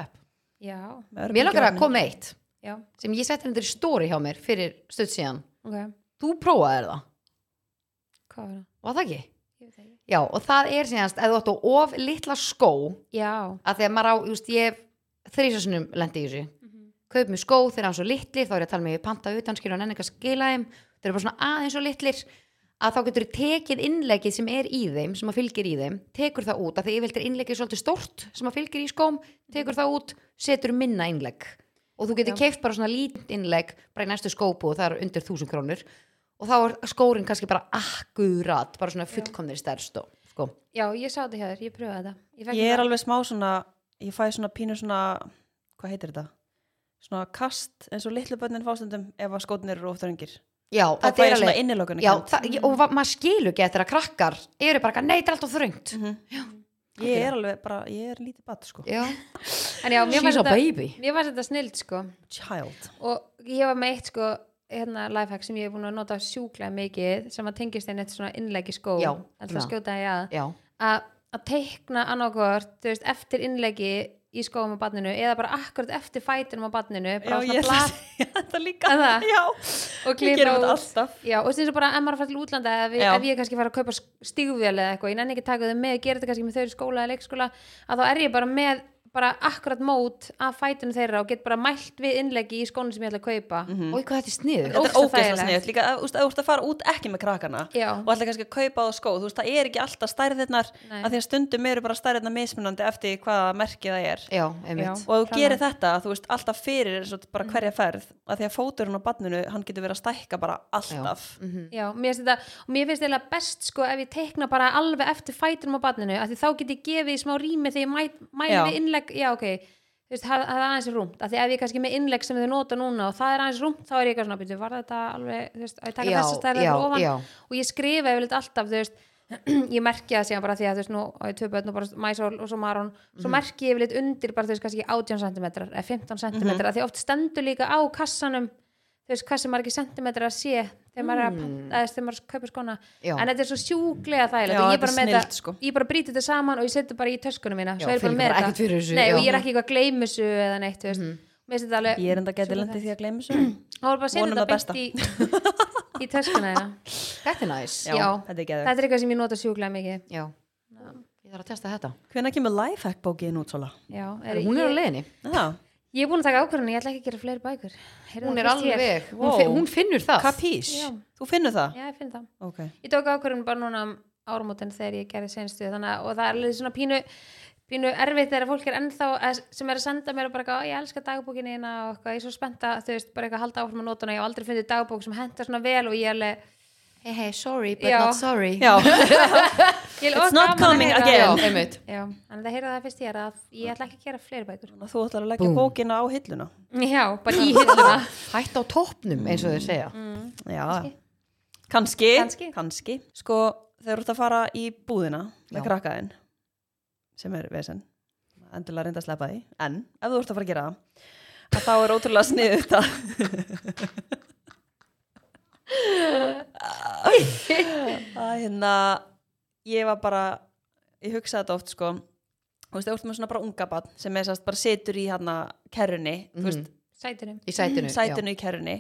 Já,
með
Mér langar að
örbylgjuofninn.
koma með eitt
já,
sem ég setti hendur í stóri hjá mér fyrir stödd síðan.
ok
Þú prófaðir það,
Hvað var það?
var það ekki?
Ég veit það ekki.
Já, og það er síðanst, ef þú átt á of litla skó,
Já,
að þegar maður á, just, ég þrísasunum lendi í þessu, kaup mér skó þegar hann er svo litlir, þá er ég að tala með ég panta utan, skilur hann enn eitthvað skila þeim, þeir eru bara svona aðeins svo litlir, að þá getur þú tekið innleggið sem er í þeim, sem að fylgir í þeim, tekur það út, að því yfirleitt er innleggið svolítið stort sem að fylgir í skóm, tekur það út, setur minna innlegg og þú getur keift bara svona lítið innlegg bara í næstu skópu og það er undir þúsund krónur og þá er skórin kannski bara akkurat, bara svona fullkomnir stærst og sko,
já, ég sá þetta hjá þér, ég pröfaði þetta Ég, fékk
Ég er
þetta-
alveg smá svona, ég fæ svona pínu svona, hvað heitir þetta? Svona kast eins og litlu börnin fástundum ef að skotnir eru of þröngir.
já,
Það
þetta
fæ
er
ég svona
alveg
innilokun
já, það, ég- og va- maður skilur ekki eftir að krakkar eru bara eitthvað, nei, þetta er alltaf þröngt
Mhm. Ég er alveg bara, ég er lítið bat sko.
já,
En já, mér
she's
fannst
a
þetta-
baby
mér fannst þetta snild sko
Child.
og ég var með eitt sko hérna lifehack sem ég hef búin að nota sjúklega mikið sem að tengist einnig svona innleggi skó
Já,
alltaf
svona.
að skjóta því að
já,
að að teikna annarkort þú veist, eftir innleggi í skóum á barninu eða bara akkurat eftir fætinum á barninu bara
Já, ég
svona
er
blad
þetta líka.
Er það?
Já,
og
við
klippa
gerum þetta
út
alltaf.
Já, og þess að bara ef maður er að fara til útlanda ef, við,
Já.
ef ég kannski fara að kaupa stígvél eða eitthvað ég nenni ekki að taka þau með, gera þetta kannski með þau í skóla eða leikskóla, að þá er ég bara með bara akkurat mót af fætunum þeirra og get bara mælt við innleggi í skónum sem ég ætla að kaupa
Mhm.
og hvað þetta er sniður
Þetta er
Ógeðslega
ógeðslega
þægilegt.
sniðut. Líka, þú veist, ef þú ert að fara út ekki með krakkana
Já.
og ætla kannski að kaupa á þau skó. Þú veist, það er ekki alltaf stærðirnar
Nei.
að því að stundum eru bara stærðirnar mismunandi eftir hvaða merki það er.
já, einmitt,
Já.
og ef þú
Klálega. Mm.
gerir þetta, þú veist, alltaf fyrir eins og bara hverja ferð, að því að fóturinn á badninu, hann getur verið að stækka bara alltaf
Mm.
Já, mér finnst þetta, og mér finnst þetta best sko ef ég teikna bara alveg eftir fætinum á barninu, af því þá get ég gefið í smá rými þegar ég mæ, mæli
Já.
við innlegg já ok, þú veist, það það er aðeins rúmt af því ef ég kannski er með innlegg sem þau nota núna og það er aðeins rúmt, þá er ég eitthvað svona býtu, var þetta alveg, þú veist, að ég taka
Já,
þessu stærðar
já,
fyrir ofan
já.
og ég skrifa yfirleitt alltaf, þú veist ég merkja það síðan bara því að þú veist nú á ég tvö börn og bara mæsól og svo marón svo
Mhm.
merki ég yfirleitt undir bara þú veist kannski 18 cm eða 15 cm mm því oft stendur líka á kassanum þú veist hvað sem margir sentimetrar að sé þegar maður er að panta, eða þegar maður er að kaupa skona
Já.
en þetta er svo sjúklega þægilegt
Mm. Já,
og ég
þetta
bara,
er
með
snillt,
þetta-
sko.
ég bara brýti þetta saman og ég setja bara í töskunum mína
Já,
svo er ég bara
finnir
með
bara
þetta
ekkert fyrir þessu,
Nei, og
já.
ég er ekki eitthvað að gleymi þessu eða neitt þú veist. mér finnst þetta alveg
Mhm. ég er enda gæti landið því að gleyma þessu
og bara að setja
Vonum
þetta
það besta.
beint í, í töskuna þína
þetta er næs
Já, þetta er geðveikt.
þetta er eitthvað sem ég nota sjúklega mikið
já, ég þarf að testa þetta
hvenær kemur lifehack bókið út sola?
Já, er,
hún er á
ég,
leiðinni
Já,
ég er búin að taka ákvörðinu, ég ætla ekki að gera fleiri bækur Heyrðu
hún
það
er
fyrst hér.
alveg, hún,
Wow.
fin, hún finnur það
kapís,
Já.
þú finnur það?
Já, ég finn það
ok,
ég tók ákvörðun bara núna um ármótin þegar ég gerði senstu þannig, að- og það er alveg svona pínu, pínu erfitt þegar fólk er ennþá að, sem er að senda mér og bara eitthvað, "Ó, ég elska dagbókinina og eitthvað, ég er svo spennta, þú veist, bara eitthvað halda áfram að nota hana, ég hef aldrei fundið dagbók sem hentar svona vel og ég er alveg,
hey hey, sorry, but
Já.
not sorry
já,
ég
It's
er of
not
gaman að
coming
heyra.
again.
já,
Já.
einmitt
Já, en það heyrða það fyrst ég að ég ætla ekki að gera fleiri bækur
þú ætlar að leggja bókina á hilluna
Já, bara í hilluna
hætt á toppnum eins og þau segja
Mm.
já, kannski
Kannski.
kannski, sko, þegar þú ert að fara í búðina með krakkaðinn sem er vesen endilega reynda að sleppa því en ef þú ert að fara að gera það að þá er ótrúlega sniðu þetta að hérna ég var bara ég hugsaði þetta oft sko þú veist, þú ert með svona bara unga barn sem er sérst bara situr í hérna kerrunni þú veist,
Sætunum
í sætinu,
sætinu í kerrunni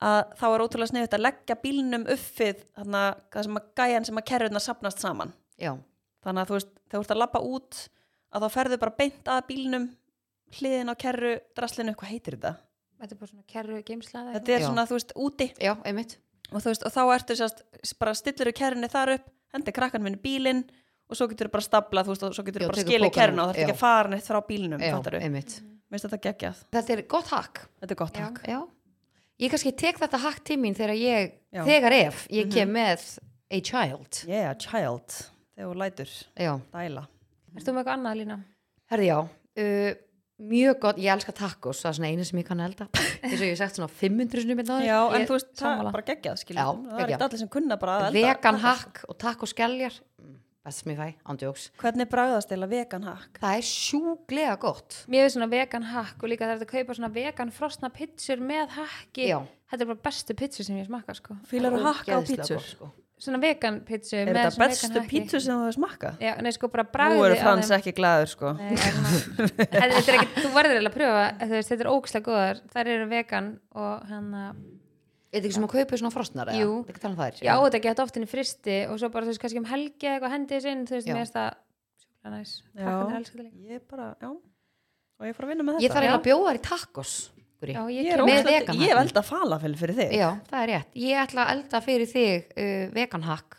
að þá er ótrúlega sniðut að leggja bílnum uppfið þarna, það sem að gæjan sem að kerruna sapnast saman
Já, já,
þannig að þú veist, þegar þú ert að labba út að þá ferðu bara beint að bílnum hliðin á kerru, draslinu, hvað heitir þetta?
Þetta er bara svona kerru geimsla eða
Þetta er
Já.
svona, þú veist, úti
já, einmitt
og þú veist, og þá ertu sérst, bara stillur í kerrunni þar upp, hendi krakkan minn í bílinn og svo getur þú bara stablað, þú veist, og svo getur
Já,
þú bara
tekur
skilið
pokann
kerruna og
út,
það er ekki
já.
að fara neitt frá bílnum,
Já,
fattar við?
einmitt
Mér finnst þetta geggjað,
Þetta er gott hack
þetta er gott
Já.
takk.
Já. Ég kannski tek þetta hack til mín þegar ég,
Já.
þegar ef, ég kem með a child.
Yeah, child, þegar þú lætur,
Já,
dæla.
Erst þú með eitthvað annað lína?
herði já, uh, mjög gott, ég elska tacos, það er svona einu sem ég kann að elda, eins og ég hef sagt svona 500 sinni með það.
Já, en
Ég-
þú veist, það
sammála.
er bara geggjað,
Já,
skiljum, það er
geggjað.
ekki allir sem kunna bara að elda.
Vegan
tacos.
hack og tacoskeljar, mm, best sem ég fæ, ándjóks.
Hvernig bragðast eða vegan hack?
Það er sjúglega gott.
Mér er svona vegan hack og líka það er að kaupa svona vegan frosna pitsur með hacki
Já.
Þetta er bara bestu pitsur sem ég smakka sko
Fýlar þú hakka á
Ógeðslega
pítsur?
gott, sko.
Svona vegan pitsur
Er þetta bestu pítsur sem þú hefur smakkað?
Já, nei sko bara bragði
Nú eru
á
Frans
þeim.
ekki glæður sko.
Nei, ég er svona- En þetta er ekki, þú verður eiginlega að pröfa þú veist, þetta er ógislega góðar, þær eru vegan og hann að,
Er þetta ekki sem að kaupa svona frostnar? eða?
Jú.
Ekki tala um þær.
ég á þetta ekki hægt oft inn í fristi og svo bara þú veist kannski um helgi eða eitthvað hendið sinn, þú veist,
Já.
mér finnst það sjúklega næs,
Já.
krakkarnir elska þetta líka
Ég bara, já. Og ég er bara að vinna með þetta.
Ég þarf eiginlega að bjóða þær í tacos. Guri.
Já,
Ég
ég
er
ógeðslega-
kem með
óslægt,
vegan
ég
hackinn.
velda falafel fyrir þig.
Já, það er rétt. Ég ætla að elda fyrir þig uh, vegan hack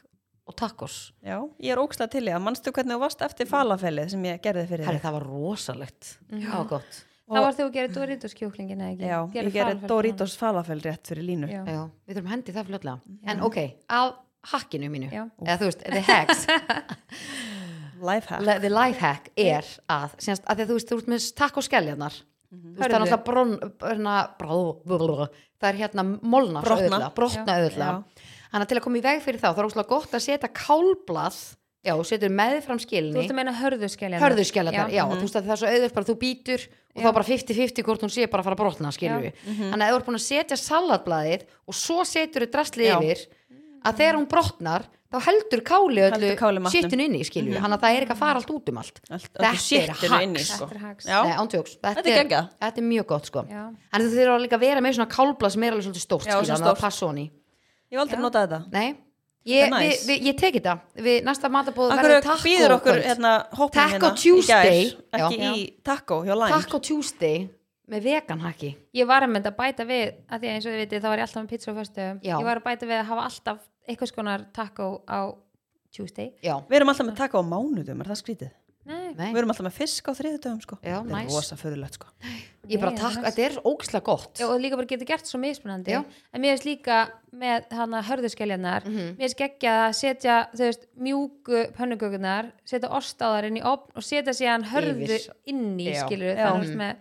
og tacos.
Já, ég er óslægt til í að mannstu hvernig þú varst eftir falafelið sem ég gerði fyrir
Herri,
þig.
það var rosalegt. Það var gott.
þá var þú að gera Doritos kjúklingin eða ekki
Já, ég gerði
falafel.
Doritos falafel rétt fyrir línu.
sko. Já.
Já, við þurfum að hendi það fljóðlega. En ok, að hackinu mínu,
Já.
eða þú veist, the hacks,
Lifehack.
le- the life hack er að, semst, að því að þú veist, þú ert með takkoskeljarnar, þú veist, það er
Hörðu.
náttúrulega brón, brona, brá, brá, brá, það er hérna molna,
Brotna.
auðvitað, brotna
Já.
auðvitað. Þannig að til að koma í veg fyrir þá, þá er óslega gott að setja kálblað, já, þú setur meðfram
Þú
skilni,
veist að meina hörðuskjæljarnar
hörðuskjælarnar,
Mhm.
já, þú veist að það er svo auðvöld bara þú býtur og þá bara 50-50 hvort hún sé bara að fara að brotna, skilur við
Mhm.
þannig að þú ert búin að setja salatblaðið og svo setur þú drastlið
Já.
yfir að þegar hún brotnar, þá heldur káli
Heldur kálið
öllu
matnum. Mhm.
sittinu inni, skilur við þannig að það er ekki að fara allt út um allt
Allt-
Þetta
öllu shitinu
hacks.
inni, sko.
Þetta er hacks.
Já.
Nei, ántjóks, þetta,
Þetta er geggjað.
þetta er mjög gott sko.
Já.
en þú þurfa líka að vera með svona kálblað sem er alveg svolítið stórt,
Já,
skilur,
svona
þannig að
stórt.
passa honi
Ég hef aldrei notað þetta.
Nei,
Þetta
ég,
er
við,
nice.
við, ég teki þetta við næsta matabóð
Akkur
verður taco
býður okkur
kvöld.
hérna hópin
Taco
hérna í
Tuesday.
gær, ekki
Já.
í taco hjá Lime
Taco Tuesday með vegan haki
Ég var að mynda að bæta við að því að eins og þið vitið þá var ég alltaf með pizza á föstu
Já.
Ég var að bæta við að hafa alltaf eitthvað skonar taco á Tuesday
Já,
Við erum alltaf með taco á mánudum, er það skrítið?
Nei,
nei
Við erum alltaf með fisk á þriðutöfum sko
Já,
Þetta
næs.
er rosa föðulegt sko
Ég bara
Nei,
takk,
annars-
þetta er ógislega gott
Já, og líka bara getur gert svo mismunandi
Já.
en mér finnst líka með hana hörðuskæljarnar
Mhm.
mér finnst geggja að setja þú veist, mjúku pönnukökunar setja ost á þar inn í opn og setja síðan hörðu
Yfir.
inn í
Já.
skilur
Já.
þannig að þú ert með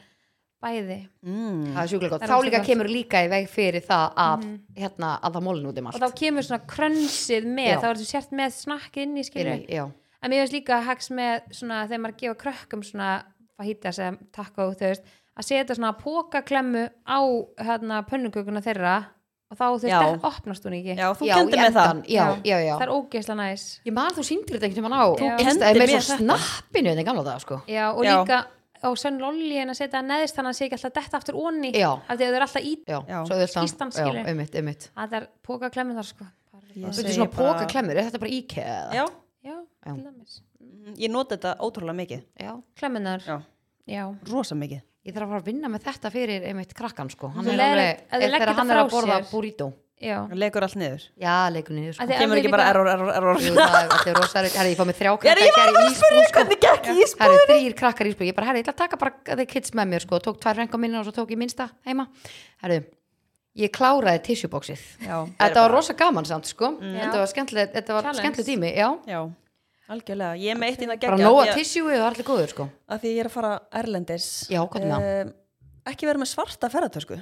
bæði
mm.
Það er sjúklega
Það
gott,
er
þá
ógeðslega
líka
gott.
kemur líka í veg fyrir það að hérna, að það mólin út um
og
allt
þá kemur svona krönsið með
Já.
þá er þú sért með snakk inn í skilur
Inni, Já,
en mér finnst líka hacks með svona þegar maður gefa krökkum svona fajitas eða taco þú veist að setja svona pókaklemmu á hérna pönnukökuna þeirra og þá þú veist,
Já.
það opnast hún ekki
Já, þú
já, í
kendir með það
endan, Já, já, já
það er ógeðslega næs
Ég man þú sýndir þetta einhvern tímann á
Þú
kenndir
Það er með
mér
svo snappinu þetta gamla dag sko
já, og
Já.
líka á sönn lolli en að setja það neðist þannig að hann sé ekki alltaf detta aftur onni
Já.
af því að þau eru alltaf í
Já,
Já.
svo auðvitað
Skýrslan,
Já,
skilur.
einmitt, einmitt
það er pókaklemmu þar sko
Ég
Þetta
segi
er svona
bara-
póka klemmur, er þetta bara íkea eða?
Já,
já,
Já.
til dæmis
mm, ég nota þetta ótrúlega mikið
já
klemmunar,
Já,
já
rosa mikið
Ég þarf að fara að vinna með þetta fyrir einmitt krakkan sko Hann
Þú
er
leiðir-
alveg,
ef þú
er-
leggir
þegar
þetta
hann er að
frá
borða
sér.
burrito
já,
Það legur allt niður
Já, leikunni niður sko
Af því að
Kemur
ef
ekki
við
bara
líka-
error, error, error
Jú, það er- þetta er rosalega, herri, ég fá mig þrjá krakkar
ég var
gerði
að spyrja
ísbrú, sko.
hvernig gekk
Já.
ísbrúin?
Herri, þrýr krakkar ísbrú, ég bara, herri, ég ætla að taka bara the kids með mér, sko, tók tvær renga minna og svo tók ég minnsta heima, herri ég kláraði tissjúbóksið
Já,
þetta var rosa gaman samt, sko
Mm.
þetta
Já.
var skemmtileg, þetta var
Challenge.
skemmtileg tími já,
Já, algjörlega Ég er með eitt inn að
bara
gegja
nóa
af því að-
tissjúi og allir góður, sko
af því að ég er að fara erlendis
Já, hvað með
um, Ekki vera með svarta ferðartösku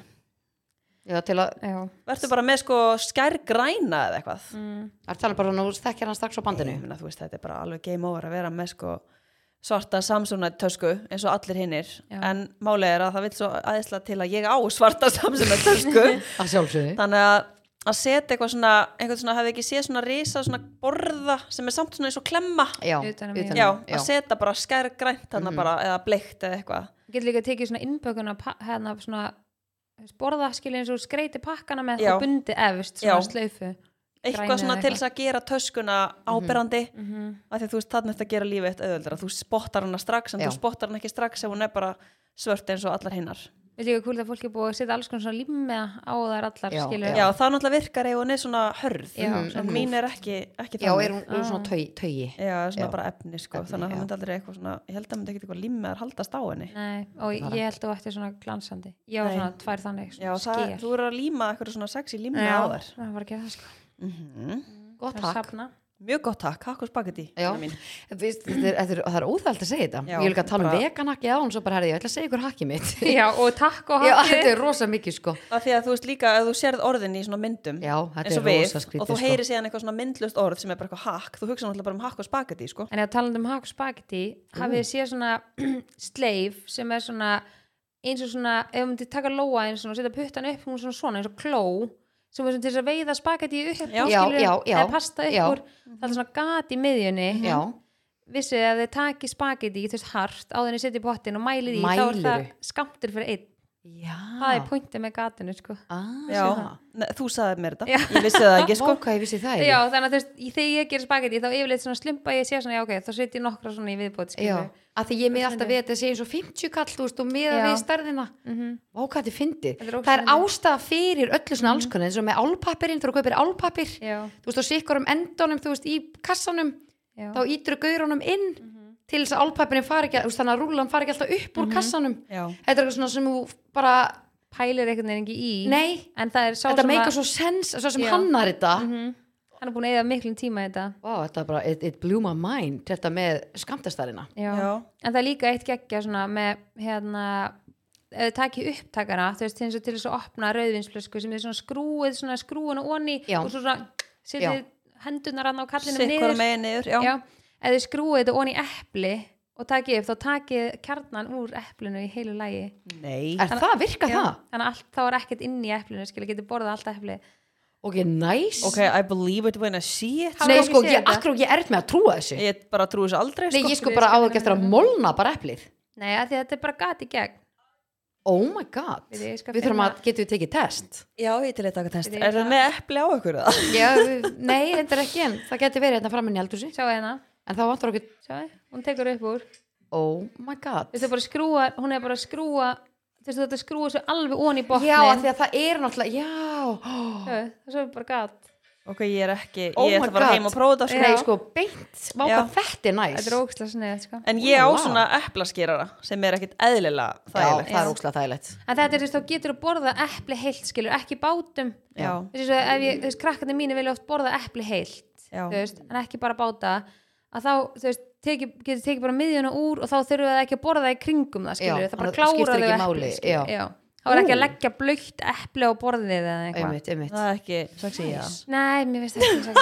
já, til að,
já, Mm.
Vertu bara með sko skærgræna eða eitthvað
það er talað bara, nú þekkjar hann strax á bandinu
Mm. Ég meina, þú veist, þetta er bara alveg game over að vera með sko svarta Samsonite tösku eins og allir hinnir
Já.
en málega er að það vil svo aðeinsla til að ég á svarta Samsonite tösku
að sjálfsögðu
þannig að að setja eitthvað svona, einhvern svona hafi ekki séð svona risa svona borða sem er samt svona eins og klemma
já,
Utan um mig.
já,
já.
að setja bara skærgrænt þarna bara eða bleikt eða eitthvað
getur líka tekið svona innbökun að pa- hérna svona borða skilja eins og skreiti pakkana með
Já.
það bundi efst svona
Já.
slaufu Grænu
eitthvað
eða
svona til þess að gera töskuna áberandi
Mhm.
af því að þú veist þannig að gera lífið eitt auðveldara þú spottar hana strax en
Já.
þú spottar hana ekki strax ef hún er bara svört eins og allar hinnar
Við líka kúl að fólk er búið að setja alls konar svona límmiða á þær allar
Já,
skilur
já, þá náttúrulega virkar ef hún er svona hörð
Já,
en
svona
mín er ekki, ekki
já, er hún, er
Ah.
hún svona taugi, taugi.
já, svona
Já.
bara efni sko
Efni,
þannig að
já.
það myndi aldrei eitthvað svona ég held að það myndi ekkert eitthvað límmeðar haldast á henni
Nei, og ég held að þú ætti svona glansandi Ég var
Nei.
svona tvær þannig
já,
svona
það,
sker.
þú eru að líma eitthvað svona sexy límmeð
Já,
á þér
það var ekki það sko
Mhm.
gott
Það er
takk
safna.
mjög gott takk, kakku spagetti
Já.
mín.
Vist, þetta er, þetta er, það er óþælt að segja
Já,
þetta ég vil ekki að tala um
bara-
veganhakki á hún svo bara herði, ég ætla að segja ykkur hakki mitt já,
Já, og takk og
þetta
hakið
er rosa mikið sko
af því að þú veist líka, ef þú sérð orðin í svona myndum
já, þetta
eins
er
og við,
rosa skrítið sko.
og þú heyrir síðan eitthvað svona myndlust orð sem er bara eitthvað hakk, þú hugsa náttúrulega bara um hakk og spagetti sko.
En að talandi um hakk og spagetti hafið þið séð svona sleif sem er svona eins og svona, ef hún myndi taka lóa eins og setja puttan upp, hún er svona svona eins og kló sem er svona til þess að veiða spagetti upp
Já.
úr,
Já,
skilurðu,
já, já.
eða pasta upp
Já.
úr það er svona gat í miðjunni
sko. já,
vissið þið að þið taki spagetti þú veist hart á þenni setja í pottin og mælið í þá er það
Mælirðu?
skamtur fyrir einn
já
það er pointið með gatinu sko.
Já,
ah,
ne, þú sagði mér þetta,
Já.
ég vissi það ekki
sko
sko.
hvað ég vissi það
já,
já,
þannig að þú veist, í- þegar ég ger spagetti þá yfirleitt svona slumpa ég sé svona, já ok, þá setjum ég nokkra svona í viðbót
já.
skilurðu.
að því ég miða alltaf við að þetta sé eins og 50 kall þú veist, og miða
Já.
við stærðina
Mhm.
Vá, hvað þetta er fyndið.
Þetta er
Það er
óskiljanlegt.
ástæða fyrir öllu svona allskonu eins og með álpapirinn, þú eru að kaupir álpapir
já,
þú veist, og sikkur um endunum, þú veist, í kassanum
já,
þá ítur gaurunum inn til þess að álpapirinn fari ekki, þú veist, þannig að rúlan fari ekki alltaf upp úr kassanum.
Já.
Þetta er eitthvað svona sem þú bara,
pælir einhvern veginn ekki í
nei,
en það er sá
þetta
sem
meikar
að-
svo sens, svo sem
Já.
hannar þetta.
Mhm. hann er búin að eða miklum tíma í þetta
Vá, þetta er bara, it, it blew my mind, þetta með skamtastarina.
já.
Já.
en það er líka eitt geggja svona með hérna ef þið takið upptakara þú veist eins og til þess að opna rauðvinsflösku sem þið svona skrúið svona skrúinu onni
Já.
og svo svona setið
Já.
hendunar hann á kallinum
Sitt hvora
niður
megin niður, já.
já. ef þið skrúið þetta onni epli og takið upp þá takið kjarnan úr eplinu í heilu lægi
Nei.
Er það, virka það?
þannig að allt, þá er ekkert inn í eplinu skilja getið borðað allt eplið
Ok, nice.
Ok, I believe it when I see it.
Hafa
Nei,
ekki
sko,
séð
ég,
þetta?
akkur og ég er með að trúa þessu.
Ég bara trúi þessu aldrei,
Nei,
sko.
ég sko
við
bara á
skulum-
ekki eftir að molna bara eplið.
nei af því að þetta er bara gat í gegn
Oh my god.
Við- ég skal
Við þurfum
finna-
að, getum við tekið test?
Já, ég til þetta að testa.
Ég-
Er það með epli á ykkur það?
Já, við- nei, þetta er ekki en það getur verið hérna framinni eldhúsi
sjáu hérna,
en þá vantur okkur,
sjáu, hún tekur upp úr
oh my god
þú veist það bara skrúa, hún er bara að skrúa þú veist þetta skrúa svo alveg ón í botnin
Já, af því að það er náttúrulega, já
það svo er bara gat
Ok, ég er ekki,
Oh
ég
my
ætla bara
God.
heim og prófa þetta, sko.
Nei,
Já.
sko, beint, vá
Já.
hvað þetta er næs
þetta er ógislega snið sko. en,
En ég á
Wow.
svona eplaskýrara sem er ekkit eðlilega
Já,
þægilegt.
það er ókslega þægilegt
þetta er þú veist þá getur þú borða epli heilt skilur ekki í bátum
Já.
Þú veist, eins og ef ég, þú veist krakkarnir mínu vilja oft borða epli heilt
Já.
þú veist, en ekki bara báta að þá þú veist teki, getur tekið bara miðjuna úr og þá þurfum það ekki að borða það í kringum það skilur
Já,
það bara
það skiptir
klára
ekki
þau
máli,
epli skilur.
já.
Já. þá er ekki að
Ú.
leggja blöitt epli á borðið eða eitthvað
Einmitt, einmitt
Það er ekki, sexy, já.
Nei, mér finnst það ekki sagt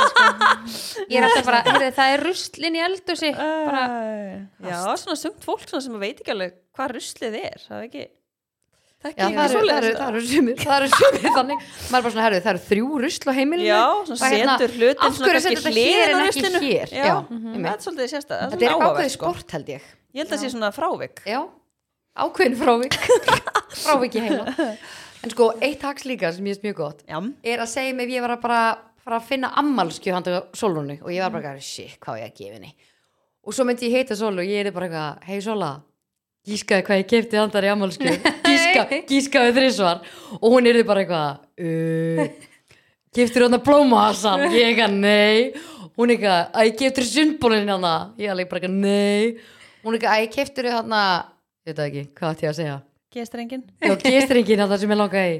sko. Ég er alltaf bara, heyrðu, það er rustlinn í eldhúsi bara,
Æ, Já, svona sumt fólk svona sem veit ekki alveg hvað ruslið er það er ekki það er ekki
Já, það eru- það
svoleiðis
eru
þetta.
það eru sumir, það eru sumir þannig Maður er bara svona, herru, það eru þrjú rusl á heimilinu
Já, svona
Bara hérna,
setur hlutin
Af
svona
hverju
kannski
setur þetta hér
hliðina
en
á
ekki
ruslinu.
hér
Já,
Já,
það
einmitt.
er svolítið sérstæð það
Þetta er
svona áhugavert,
ákveðið
sko.
sport held ég
Ég held að sé svona frávik
Já, ákveðin frávik Frávik í heila En sko, eitt haks líka sem ég veist mjög gott
Já,
er að segja mig ef ég var að bara fara að finna ammalskju handa Solunu og ég var bara, shit, hvað á ég að gefa henni og svo myndi ég heita Solu og ég er bara eitthvað, hei Sola gískaði hvað ég kefti handar í ammalskju Gíska, gískaði þrísvar og hún er bara eitthvað uh, geftur hann að blómaðasan ég eitthvað, nei hún eitthvað, að ég geftur sundbólinn hann hérna?" ég alveg bara eitthvað, nei hún eitthvað, að ég geftur hann að ég veit það ekki, hvað ætti ég að segja
gestrengin
Já, gistringin að það sem ég langaði í.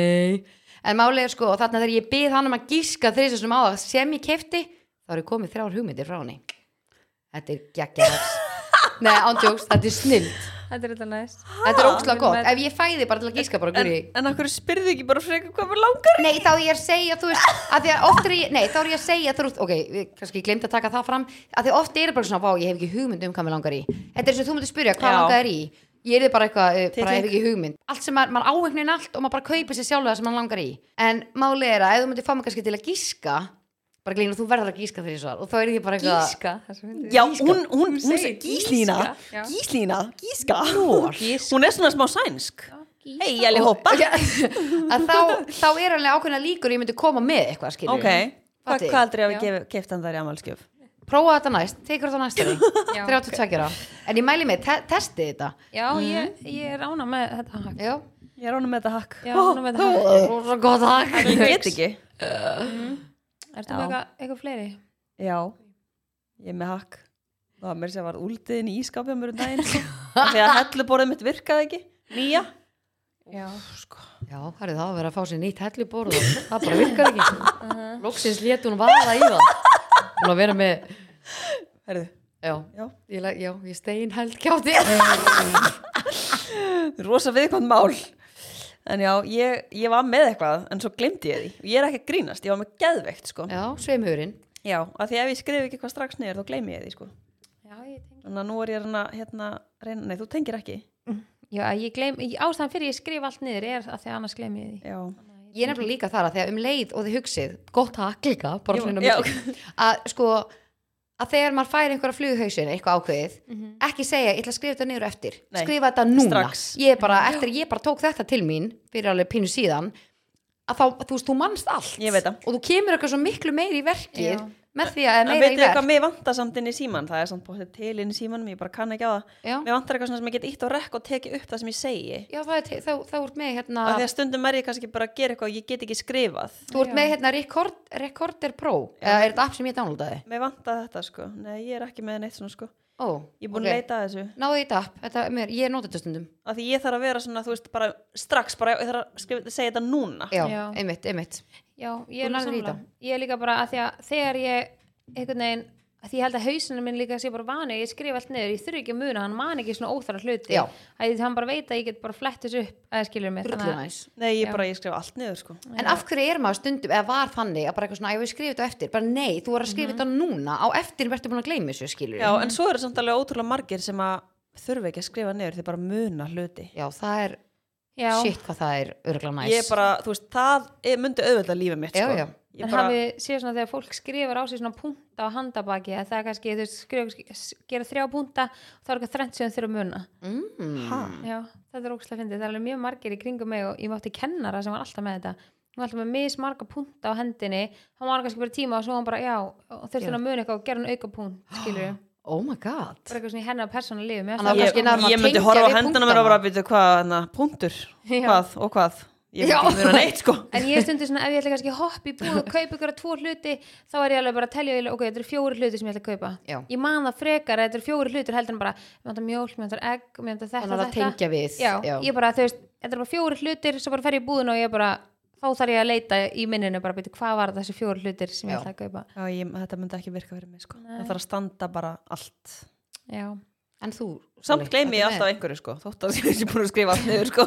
Nei En málið er sko, og þarna þegar ég bið hann um að gíska þrið sem á það sem ég kefti þá eru komið þrjár hugmyndir frá henni Þetta er geggjars Nei, ándjóks, þetta er snild
þetta er eitthvað næst
Þetta er ógslag
Við
gott,
erum að-
ef ég fæði bara til að gíska bara,
En,
guri
en af hverju spyrðu ekki bara frekar hvað mér langar?
Nei, þá er ég að segja, þú veist, að því að oft er ég, nei, þá er ég að segja, þú veist, ok, við- kannski ég glemt að taka það fram, að því oft er bara svona, vá, ég hef ekki hugmynd um hvað mér langar í. Þetta er eins og þú myndir spyrja, hvað
Já.
langar þér í? Ég er bara eitthvað, uh, bara
Titling.
hef ekki hugmynd. Allt sem maður, maður áhengnin allt og maður bara kaupir sér sjálf það sem maður langar í. En málið er að ef þú myndir fá mig kannski til að gíska, bara glína, þú verður að gíska þegar ég svar og þá er ég bara eitthvað,
gíska það sem fyndið.
Já, hún, hún, hún,
segir
segir gíslína,
gíska, já.
gíslína, gíska. Hún er svona smá sænsk.
Gíska.
Hei, ég hoppa.
Já, að þá, þá er alveg ákveðna líkur að ég myndi koma með eitthvað, skilur
Ok, Hva,
Fattig.
hvað aldrei
Já.
hafi gefið- keypt hann þær í amalskjöf?
prófa þetta næst, tekur þetta næst 32
Já.
ára, en ég mæli mig, te testi þetta
já, ég, ég er ána með þetta hack.
já,
Ég er ánum með þetta hakk.
ég er ána með þetta
Eh.
hack.
rosa gott takk
Ég get ekki.
ertu
Já.
með eitthvað, eitthvað fleiri?
Já, ég er með hakk. Það var mér sem var úldiðin í ískapja mér um daginn. sko. Af Því að helluborðið mitt virkaði ekki. Nýja.
já,
já, það er það að vera að fá sér nýtt helluborð og það bara virkar ekki loksins létt hún vaða í það hún að vera með
Herðu,
já,
já.
ég, la- já, ég stein held kjátti
Rosa viðkvæmt mál. En já, ég, ég var með eitthvað, en svo glemdi ég því. Ég er ekki að grínast, ég var með geðveikt, sko.
já, sveimhurinn
Já, af því ef ég skrif ekki eitthvað strax niður, þá gleymi ég því, sko.
já, ég tengi
Þannig að nú er ég að reyna, hérna, reyna, nei, þú tengir ekki.
já, ég gleym, ég- ástæðan fyrir ég skrif allt niður er að því að annars gleym ég því
Já.
ég er nefnilega líka þar að þegar um leið og þið hugsið gott takk líka, bara
Jú,
svona
já.
mikið að sko að þegar maður fær einhverja flughausin eitthvað ákveðið,
Mhm.
ekki segja ég ætla að skrifa þetta niður á eftir,
Nei.
skrifa þetta núna
Strax.
ég er bara, eftir ég bara tók þetta til mín fyrir alveg pínu síðan að þá, þú veist, þú manst allt
Ég veit það.
og þú kemur eitthvað svo miklu meiri í verkið
Já.
með því að
En
meira í
veitu hvað
verk
mér vantar samt inn í síman, það er samt bóttið til inn í símanum, ég bara kann ekki á það.
já,
Mér vantar eitthvað svona sem ég get ítt á rekk og tekið upp það sem ég segi.
já það er, te- þá, þá ert með hérna
Af því að stundum er ég kannski bara að gera eitthvað og ég get ekki skrifað.
þú ert með hérna Record, Recorder Pro eða er þetta app sem ég downloadaði
Mér vantar þetta sko. Nei, ég er ekki með neitt svona sko.
ó,
Ég er búin að leita að þessu.
náðu í þetta app, þetta, er mér, ég nota þetta stundum
Af því ég þarf að vera svona, þú veist, bara strax, bara ég þarf að skrifa, segja þetta núna.
já,
Já.
einmitt, einmitt
Já,
Þú
ég er alveg
lærðir í
sammála. Ég er líka bara að því að þegar ég einhvern veginn, að því ég held að hausinu minn líka sé bara vanu, ég skrif allt niður, ég þurfi ekki að muna hann man ekki svona óþara hluti
Já.
að ég, hann bara veit að ég get bara flett þessu upp að það skilur mig
Drullu næs.
Nei, ég
Já.
bara, ég skrifa allt niður sko.
En af hverju er maður stundum, eða var þannig að bara eitthvað svona, "Æ, ég við skrifa þetta á eftir, bara nei, þú var að skrifa þetta núna, á eftir verður búin að gleyma þessu, skilur
Mhm. Já, en svo eru samt alveg ótrúlega margir sem að þurfa ekki að skrifa niður, þeir bara muna hluti.
Já, það er,
Já,
shit hvað það er örgla næs.
Ég bara, þú veist, það er- myndi auðvitað lífið mitt
Já,
sko.
já.
Ég
en
bara-
hafið séu svona þegar fólk skrifar á sig svona punta á handabaki að það er kannski, þú veist, skrifa, gera þrjá punta og það er eitthvað þrennt sem þau þurfa að muna
Mm.
Ha?
Já, þetta er ógslag fyndið, það er alveg mjög margir í kringum mig og ég mátti kennara sem var alltaf með þetta hún var alltaf með mismarga punta á hendinni hann var kannski bara í tíma og svo hann bara já og þurfti hann að muna eitthvað og gera hann auka punt skilur ég,
Oh my god.
bara eitthvað svona í hennar persónu lífi mér
Hann
fannst
var kannski
ég,
náður að
ég myndi
tengja
horfa á
við
hendana mér og
punktana.
bara byrja hvað, hana, punktur, hvað og hvað ég myndi
Já.
ekki muna neitt sko
það- en ég stundi svona ef ég ætla kannski að hoppa í búð og kaupa ykkur tvo hluti þá er ég alveg bara að telja eiginlega, ok, þetta eru fjóri hluti sem ég ætla að kaupa
Já.
ég man það frekar að þetta eru fjóri hlutir heldur en bara, mér vantar mjólk, mér vantar egg mér vantar þetta,
Þannig að það
þetta
tengja við.
já, ég bara, þú veist, þetta er bara fjóri hlutir svo bara fer ég í búðin og ég bara þá þarf ég að leita í minninu bara byrja hvað var þessi fjóri hlutir sem ég
Já.
ætla að kaupa
Já, ég, þetta myndi ekki virka fyrir mig sko það þarf að standa bara allt
já,
En þú,
samt gleymi ég alltaf einhverju sko þótt að ég sé búin að skrifa allt niður sko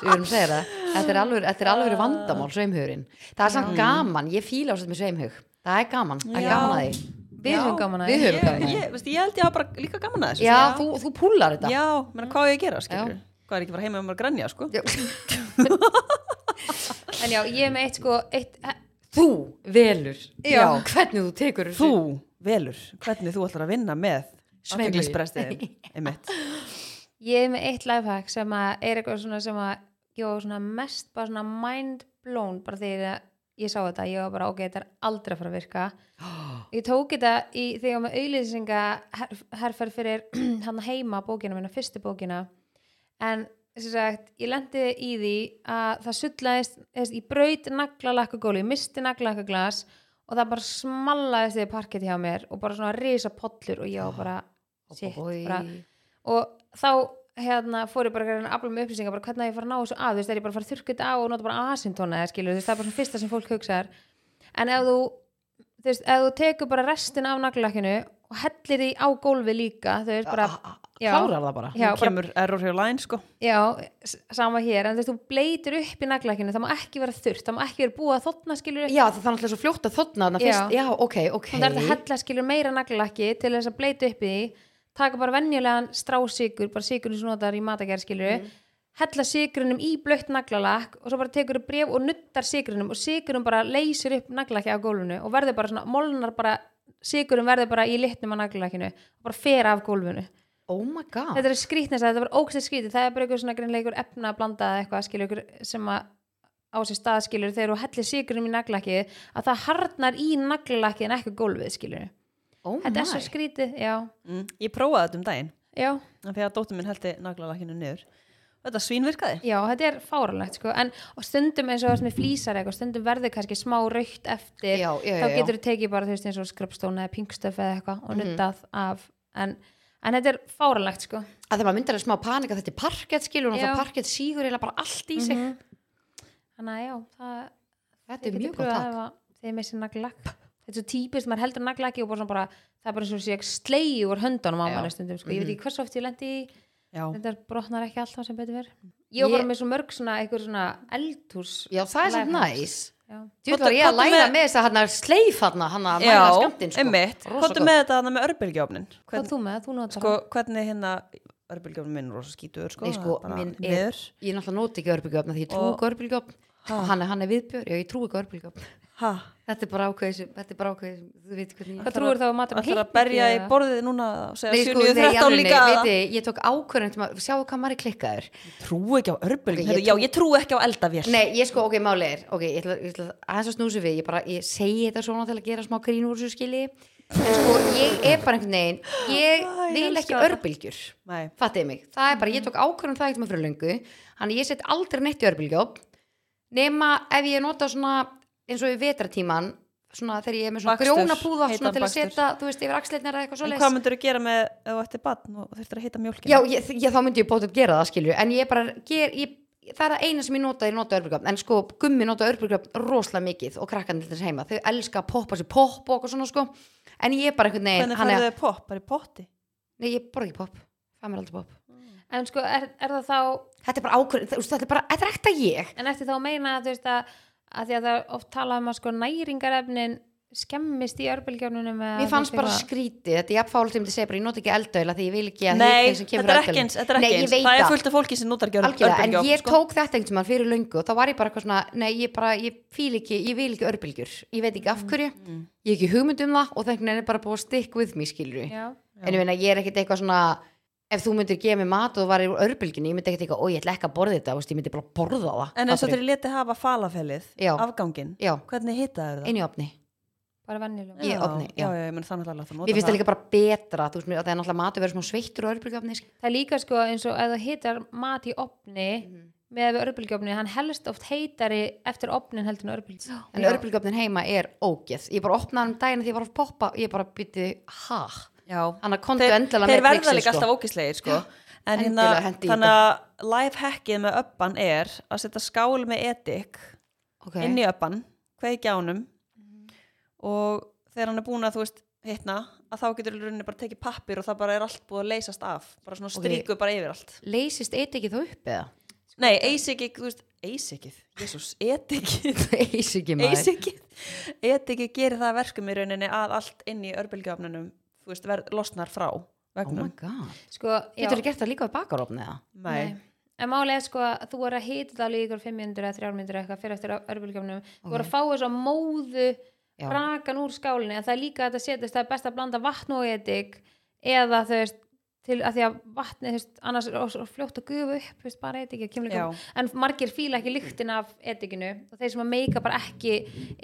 Við erum að segja það. Þetta er alveg, þetta er
Ah.
alveg vandamál, sveimhugurinn. Það er samt gaman, ég fíla á þetta með sveimhug. Það er gaman, það er
Já.
gaman að því.
við höfum gaman að
Við
því
höfum
ég,
gaman að því.
ég, veist, ég held ég hafa bara líka gaman að þessu
Já,
sko.
þú, þú púlar þetta.
já menn hvað á ég að gera skilur hvað er ekki bara heima um að grænja sko
en já, ég er með eitt sko eitt,
Þú velur.
Já.
Hvernig þú tekur
þú velur hvernig þú ætlar að vinna með
Sveimi.
athyglisbrestiðinn, einmitt.
ég er með eitt lifehack sem að er eitthvað svona sem að ég var svona mest bara svona mind blown bara þegar ég- ég sá þetta ég var bara ok, þetta er aldrei að fara að virka ég tók þetta í þegar ég var með auðlýsinga herferð fyrir hann heima bókina minna, fyrstu bókina en sem sagt, ég lendi í því að það sullaðist, þess, ég braut naglalakka ég misti naglalakka og það bara smallaðist því parkett hjá mér og bara svona risa pollur og ég var bara,
Oh,
shit, bara og þá hérna fór ég bara að reyna að afla með upplýsingar bara hvernig á ég að fara að ná þessu að, þú veist, er ég bara að fara að þurrka þetta á og nota bara asintona eða skilur, þú veist, það er bara svona fyrsta sem fólk hugsaðar en ef þú, þú veist, ef þú tekur bara restin af naglalækinu og hellir því á gólfi líka þau er bara, já,
klárar það bara
Nú
já, ah, bara
kemur error hjá line sko
já, s- sama hér en þú veist, þú bleitir upp í naglækinu það má ekki vera þurrt, það má ekki vera búið að þotna skilur
já það er alltaf svo fljótt að þotna þarna fyrst já, ok, ok
hún þarf að hella skilur meira naglalakki til þess að bleita upp í því taka bara venjulegan strásykur bara sykurinn sem notar í matagerð skilur hella sykurinnum í blött naglalakk og svo bara tekur þú bref og nuttar sykurinnum og sykurinn bara leysir upp naglalakki á gólfinu og verður bara svona, molnar bara sykurinn verður bara í litnum á naglalakkinu og bara fer af gólfinu
oh my god
þetta er skrítnest þetta er bara ógstæð skrítið það er bara einhver svona greinleikur efna að blanda eða eitthvað skilur ykkur sem að á sér stað skilur þegar þú hellir sigurum í naglakkið að það harnar í naglakkið en ekki gólfið skilur
oh my.
þetta er svo skrítið, já,
mm. Ég prófaði þetta um daginn
já,
af því að dóttir minn heldi naglalakinu niður Þetta svínvirkaði
já þetta er fáralegt sko. en og stundum eins og það sem er flýsar eitthvað, stundum verður kannski smá raukt eftir
Já, já, Mhm. já,
þá
já.
getur þú tekið bara þú veist eins og skröpstóna eða pingstöf eða eitthvað og nuttað af en, en þetta er fáralegt sko.
að þegar maður myndar að smá panika þetta er parkett skilur og
Já. Mhm.
það parkett sígur eiginlega bara allt í sig
þannig að já, það
þetta er
Þið
mjög
getið
gott
pröfað
takk
ef að Þið missir naglakk Þetta er svo típist, maður heldur naglakki og bara, svona bara það er bara eins og sé ekki slegi úr höndunum á
Já. Mhm.
manni stundum, sko. ég veit ekki hversu oft ég lendi í
Já,
þetta brotnar ekki alltaf sem betur verð Ég var bara
Mm. Ég-
með svo mörg svona einhver svona eldhús
já það er svolítið
Lifehacks.
næs
Já.
Djúvel
Komdu-
var ég að
komdu
læra
með-
með þess að hann er sleif hann að mæla
já
skamtinn sko.
einmitt
Rosa
Hvort
gott.
með þetta hana með örbylgjófnin
Hvað
Hvern,
þú með, þú notar
sko, Hvernig hérna örbylgjófnin minn er rosa skítur sko,
Nei, sko,
það bara
minn er,
niður.
ég náttúrulega noti ekki örbylgjöfn því ég trú
Og-
ekki örbylgjöfn og hann er, hann er viðbjör, já ég trú ekki örbylgjöfn
Ha,
þetta er bara ákveðið sem, þetta er bara ákveðið sem, þú veit hvernig
Hvað trúir þá að matur
ætlar að berja í borðið núna og segja
sko,
7.13
alvörunni,
líka að-
veitir, ég tók ákveðin
um
til maður, sjáu hvað maður er klikkaður
Trú ekki á örbylgjófnin
Ok, ég
okay, Já, ég trú ekki á eldavél
Nei, ég sko, ok, máli er ok, ég ætla, ég ætla aðeins að snúsa við ég bara, ég segi þetta svona til að gera smá grín úr þessu skili en sko, ég er bara einhvern veginn
Æ,
ég
ég
vil
elska
ekki
þetta.
örbylgjur
Nei.
fattiði mig, það er bara, ég tók ákvörðum það ekkert maður fyrir löngu, hann ég sett aldrei neitt í örbylgjóp nema ef ég nota svona, eins og í vetratíman svona þegar ég er með svona
Bakstur,
grjóna púða svona
heitan
til að
bakstur.
setja, þú veist, yfir axleirnar eða eitthvað
En
svoleiðis
hvað myndur þú gera með ef þú ættir badn og þurftir að hita mjólkina?
Já, ég, ég, þá myndi ég bótið gera það, skilju en ég bara, ger, ég, það er það eina sem ég nota ég nota örbjörgöfn, en sko, gummi nota örbjörgöfn rosalega mikið og krakkan til þess heima þau elska að poppa sér popp og eitthvað svona sko en ég er bara einhvern veginn,
Hvernig
hann
færðu
er,
þau popp? Bara í potti?
nei, ég borða ekki popp það mér aldrei popp,
En sko, er, er það þá
þetta er bara ákvörð þetta er bara, þetta er ekta ég
en eftir þá að meina að þú veist að, að því að það er oft talað um að sko næringarefnin skemmist í örbylgjöfnunum eða
Mér
þú
fannst
veist
bara
eitthvað.
skríti, þetta er jafnfálega sem ég segi bara, ég nota ekki eldauðla því ég vil ekki að
Nei,
hitinn sem kemur
þetta er
frá
ekki
eldauðlum-
eins, þetta er
Nei,
ekki
ég
eins.
veit
Það er
það.
fullt af fólki sem notar gjör-
algjörlega, en
örbylgjuofn,
ég
sko.
tók þetta einhvern tímann fyrir löngu og þá var ég bara eitthvað svona, nei, ég bara, ég fíl ekki ég vil ekki örbylgjur, ég veit
Mm,
ekki af hverju ég hef ekki hugmynd um það og þannig er bara búið að stick with me, skilur við
Já,
en ég meina, ég er ekkert eitthvað svona ef þú myndir gefa mig mat og það var í örbylgjunni ég myndi ekkert eitthvað, ó, ég ætla ekki að borða þetta þú veist, ég myndi bara borða það
En eins og
Fattarðu?
þeir leti hafa falafelið,
Já.
afganginn,
Já.
hvernig hitaðu það?
inn í opni
bara venjulegum
í ofni,
já.
já.
Já, ég menn þannig að það
Mér finnst það líka bara betra, þú veist mér, það er náttúrulega matur verið smá sveittur og örbylgjöfni,
Það er líka sko eins og ef þú hitar mat í opni
Mhm.
með við örbylgjöfni, hann helst oft heitari eftir opnin heldur en örbylgjöfni.
en örbylgjöfnin heima er ógeð. Ég bara opnaði hann um daginn af því ég var að poppa, ég bara bytti, ha,
Já.
hann að kontu
Þeir,
endilega
þeir
með
verða
trixið,
líka
sko.
alltaf ókislegir, sko. En hérna,
Endilega hendi í
þannig að lifehackið með öppan er að setja skál með edik
okay.
inn í öppan, kveikja ánum og þegar hann er búin að þú veist hittna, að þá getur í rauninni bara tekið pappir og það bara er allt búið að leysast af bara svona stríku bara yfir allt
leysist eitt ekki þá upp eða?
Nei, eisikið, þú veist, eisikið Jésús, etikið
Eis ekki
eisikið etikið gerir það að verkum í rauninni að allt inn í örbylgjöfnunum þú veist, verð, losnar frá
Oh my
vegnum
god.
Sko, já,
Getur þú gert það líka við bakarofni eða?
Nei.
en málið er sko að þú er að hita það líka 5 minnundur eða 3 minnundur eitthvað fyrir eftir örbylgjöfnum. Þú er að fá þess að móðu
Já.
rakan úr skálinni, en það er líka að þetta setjast, það er best að blanda vatn og edik eða þú veist, til að því að vatni, þú veist, annars er svo fljótt að gufa upp, þú veist, bara edik, kemur líka
Já.
en margir fíla ekki lyktin af etikinu og þeir sem að meika bara ekki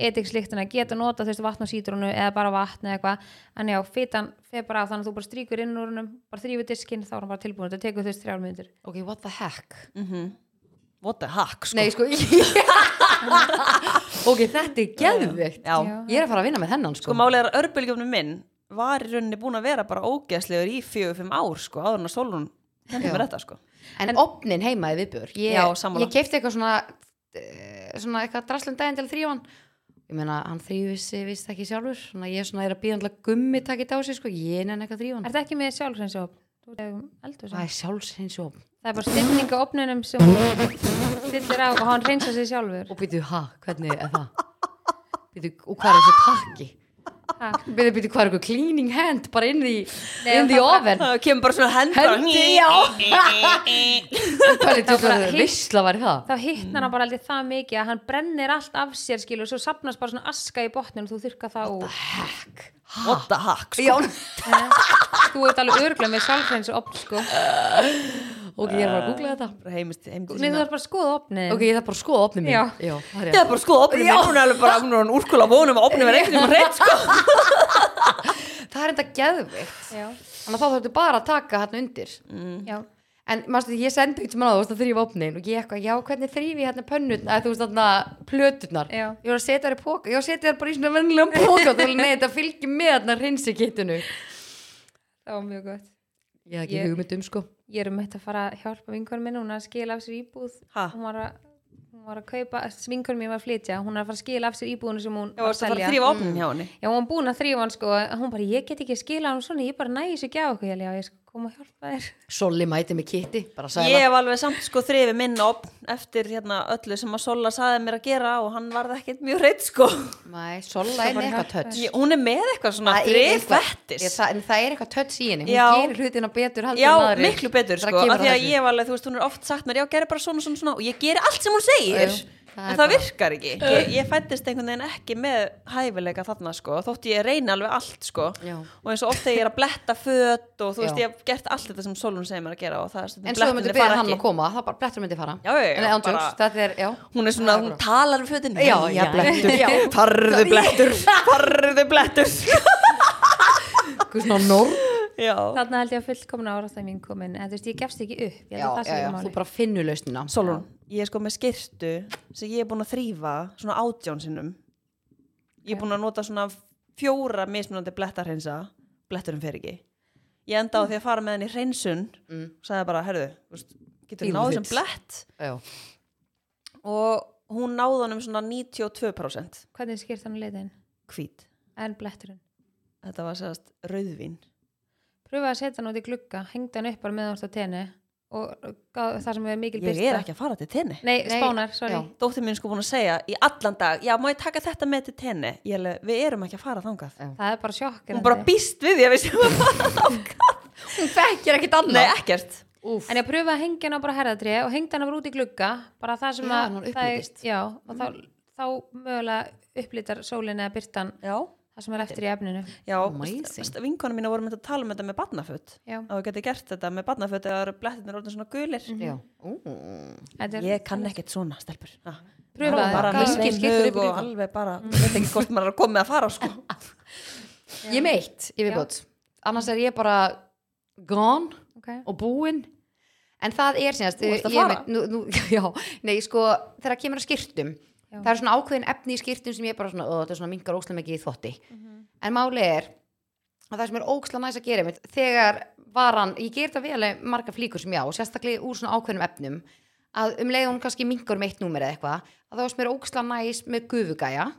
etikslyktina geta nota þú veist vatn og sítrunu eða bara vatn eða eitthvað en já, fitan fer bara af þannig að þú bara stríkur inn úr húnum bara þrýfur diskinn þá er hann bara tilbúin þetta tekur þú veist þrjár myndir
Ok, what the heck?
What the hack, sko
Nei, sko. ok, þetta er geðveikt.
Já.
Ég er að fara að vinna með hennan, sko.
Sko málið er að örbylgjöfnum minn var í rauninni búin að vera bara ógeðslegur í fjögur-fimm ár, sko, áður en að Solon hendur mér þetta, sko
en, en opnin heima er viðbjör. Ég,
Já, sammála.
um Ég keipti eitthvað svona, eh, svona eitthvað draslum daginn til þrjóan ég meina, hann þrýfur sig vist ekki sjálfur svona ég svona er að býða alltaf gummi takit á sig sko, ég nenni ekki að þrýfa hann
Er það ekki með sjálfsreinshóp? Þú er um eldur
það er sjálfsinsjóp
Það er bara stilling á opnunum sem hún stillir á og hann reynsa sig sjálfur.
og býtu, ha, hvernig er það býtu, og hvað er þessi pakki
Ha.
býtu, býtu, hvað er eitthvað cleaning hand bara inn í,
Nei,
inn í
það
ofen
Það kemur bara svona hend bara-
hendi, já hvað er
bara
þetta,
hitt-
vissla var það
Þá hittnar hann bara aldrei það mikið að hann brennir allt af sér skilur og svo sapnast bara svona aska í botninu og þú þurka það úr.
heck,
What the heck sko.
já,
Þú ert alveg örglega með sjálfsreinshóp sko.
ok, ég er bara að googla þetta
Bara heimist, heimist
Nei, þú ert bara að skoða opnið.
ok, ég þarf bara að skoða opnið mín
Já.
já, það er
Ég er bara sko opnum minn, hún er alveg bara hún er hann úrkula vonum að opnum er einhvern veginn hreitt sko.
það er enda geðvikt
Já,
þannig að þá þurftu bara að taka hérna undir
já.
en mástu, ég sendi eitthvað maður á þú veist að þrýfa opnin og ég eitthvað, já, hvernig þrýfi ég hérna pönnutnar, eða þú veist þarna plöturnar
Já.
ég var að setja þær í póka, ég var að setja þær bara í svona vennilega póka, þú veist, nei, þetta fylgir með hérna hrinsikittinu ég
Það var mjög gott.
hef ekki
Ég-
hugmynd um, sko
Ég er um eitt að fara að hjálpa vinkunum minn, hún er að skila af sér íbúð.
Ha?
Hún var að, hún var að kaupa, vinkunum mín var að flytja, hún er að fara að skila af sér íbúðinu sem hún
Ég var að fara að þrýfa opnum hjá henni
Já, hún var búin að þrýfa hann sko en hún bara, ég get ekki að skila hann svona, ég bara næði þessu ekki á okkur, ég alveg, já, ég sko koma að hjálpa þér
Solli mæti með kitti, bara sæla
Ég hef alveg samt sko þrifi minn opn eftir hérna öllu sem að Sola saði mér að gera og hann varð ekkert mjög hreitt sko
Mæ, Solla er með
bara
eitthvað
hjálpa
tötts
ég, Hún er með eitthvað svona þrif vettis
það, en það er eitthvað tötts í henni, hún
Já.
gerir hlutina betur heldur
Já,
en aðrir.
miklu betur
Þegar
sko
kemur
af Því að
að þessu.
ég hef alveg, þú veist, hún er oft sagt mér Já, gera bara svona, svona, svona Og ég geri allt sem hún segir
Jú, það er
En það
bara-
virkar ekki Ég, ég fættist einhvern veginn ekki með hæfileika þarna sko Þótt ég reyni alveg allt sko
Já.
Og eins og oft þegar ég er að bletta föt Og þú veist,
Já.
ég hef gert allt þetta sem Solun segir mér að gera Og það er stundum
En svo þú
blettirnir
myndir
fara
beða hann
ekki.
að koma, það bara blettur myndi fara
Já, já, já,
En ándjóks,
bara-
þetta er, já
hún er svona, hún talar um fötin
Já, já, blettur.
farðu blettur, farðu blettur
Guð, svona norn
já,
Þannig held ég að fullkomna árástæming komin en þú veist, ég gefst ekki upp, ég
já,
held að
já,
það sé
já,
ekki
þú
máli
bara finnur lausnina
Solon, ég er sko með skirtu sem ég er búin að þrýfa svona átján sinnum ég er búin að nota svona fjóra mismunandi blettarhensa bletturum fer ekki ég enda á því að fara með henni hreinsun mm. sagði bara, herðu, þú veist, getur
Fílum
náðu
þitt.
sem blett
já.
og hún náði honum svona 92%
Hvernig skýrt hann leitin?
hvít,
En bletturinn
þetta var sérst rauðvín
Pröfa að setja hann út í glugga, hengd hann upp bara með hans á tenni og gáð, það sem er mikil
ég er ekki að fara til tenni
Nei,
Nei,
spánar, sorry
já.
dóttir mín er sko búin að segja í allan dag já, má ég taka þetta með til tenni ég alveg, við erum ekki að fara þangað
Já.
Það er bara sjokk
hún bara býst við því að við séum að fara þangað
hún þekkir ekkit
nei,
annað
ekkert
Úff.
En ég pröfa að hengja hann á bara herðatri og hengja hann bara út í glugga bara það sem
Já,
að
hann var
það er-
upplitist.
Já, og þá, þá mögulega upplítar sólin eða byrtan
já,
það sem er eftir í efninu
já
Amazing.
vinkonum mína vorum að tala um þetta með barnaföt
Já.
að við geti gert þetta með barnaföt eða það eru blettinir orðin svona gulir
Já. Ú.
Þetta er-
ég kann ekkert svona, stelpur Ha.
Prufaðu,
bara
gaman.
með
Engin
svein
skiptir
hug
upp í
og
líka.
alveg bara ég veit ekki hvort maður er að koma með að fara sko.
ég meitt í viðbót annars er ég bara gone
okay.
og búin en það er sínast
Þú ert að
ég
fara.
meitt- nú, nú, já, nei sko þegar kemur að skýrtum
Já.
það er svona ákveðin efni í skýrtum sem ég bara svona, "Ó, þetta er svona mingar óslega mikið í þvotti
Mhm.
en máli er að það sem er óksla næs að gera mitt þegar varan, ég ger þetta vel með marga flíkur sem ég á, sérstaklega úr svona ákveðnum efnum að um leiðum kannski mingar um eitt númer eða eitthvað, að það sem er óksla næs með gufugæja,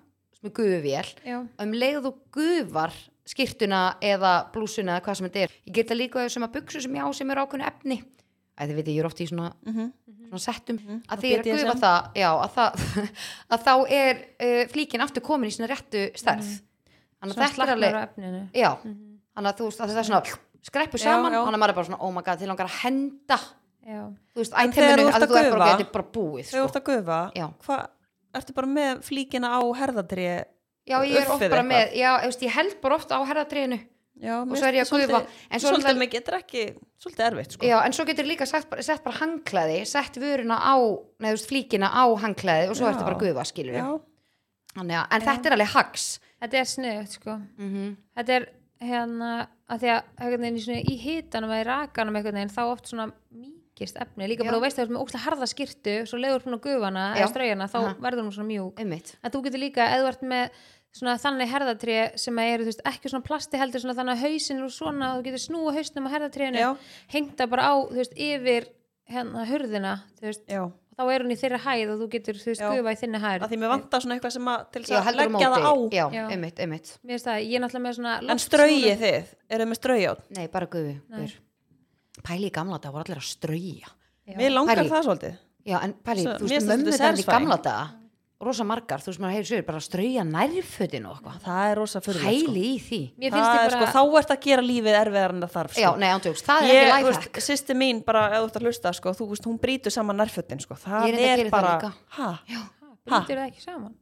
með gufuvél
Já.
um leiðu þú gufar skýrtuna eða blúsuna eða hvað sem þetta er ég geta líka þessum að buksu sem ég á sem eru ákveðnu efni að þið veit ég er oft í svona,
Mhm.
svona settum að því ég er að gufa
BDSM.
það, já, að, það að þá er uh, flíkin aftur komin í svona réttu stærð
Mhm.
þannig að
Svona
þetta er alveg
slaknar á efninu
já, þannig að þú veist að þetta er svona skreppur
Já,
saman,
já.
þannig að maður er bara svona oh my god, þið langar að henda
Já.
þú veist,
En þegar
æteminu,
þú ert
að
að
þú er bara
gufa-
getið bara búið
þegar þú
sko.
ert að gufa
Já.
hvað, ertu bara með flíkina á herðatri
já, ég er
upp
oft
við
bara
eitthvað?
með, já, þú veist, ég held bara oft á herðatriðinu
já,
og svo er ég að gufa en svo,
svolítið
svolítið,
mér getur ekki, svolítið erfitt sko.
já, en svo getur líka sett, sett bara hangklæði, sett vöruna á neðu veist, flíkina á hangklæði og svo
Já.
ertu bara að gufa, skilur
Já.
Þannig, að- en þetta er alveg hags
Þetta er sniðugt sko
Mhm.
Þetta er hérna að því að einhvern veginn í svona í hitanum eða í rakanum einhvern veginn þá oft svona mýkist efni líka bara
Já.
þú veist að þú ert með ókslega harða skirtu svo leiður svona gufana
Já.
eða straujana þá
Aha.
verður hún svona mjúk
ummitt
en þú getur líka eða þú ert með svona þannig herðatré sem að eru þú veist, ekki svona plasti heldur svona þannig að hausin eru svona að þú getur snúa hausnum á herðatrénu
Já.
hengta bara á þú veist, yfir hérna hurðina þú veist,
Já.
og þá er hún í þeirra hæð og þú getur þú veist
Já.
gufa í þinni hæð
að því mér vantar svona eitthvað sem að til
já,
þess að
heldur á
leggja
móti
það á
já,
Já.
einmitt, einmitt
mér finnst það, ég er náttúrulega með svona
en
loftsúlu.
strauið þið, eruð með straujátt
nei, bara guðu
Nei.
pæli í gamla þetta voru allir að strauja
Já.
mér langar
Pæli.
það svolítið
já, en pæli,
Svo-
þú
mér
veist,
finnst þetta
mömmu þetta í
satisfying.
gamla þetta rosa margar, þú veist, maður hefur sögur bara að strauja nærfötin og eitthvað
það er rosa fyrir
pæli í því
mér finnst
það
þið
er
bara
sko, þá ert að gera lífið erfiðar en það þarf sko.
já, nei, ándjóks, það er
ég,
ekki
þú veist,
lifehack
sýsti mín bara, ef þú ert að hlusta sko, þú veist, hún brýtur saman nærfötin sko.
Ég
það
reyndar
er
geri það
bara,
líka.
hæ,
já,
Ha?
brýtur það ekki saman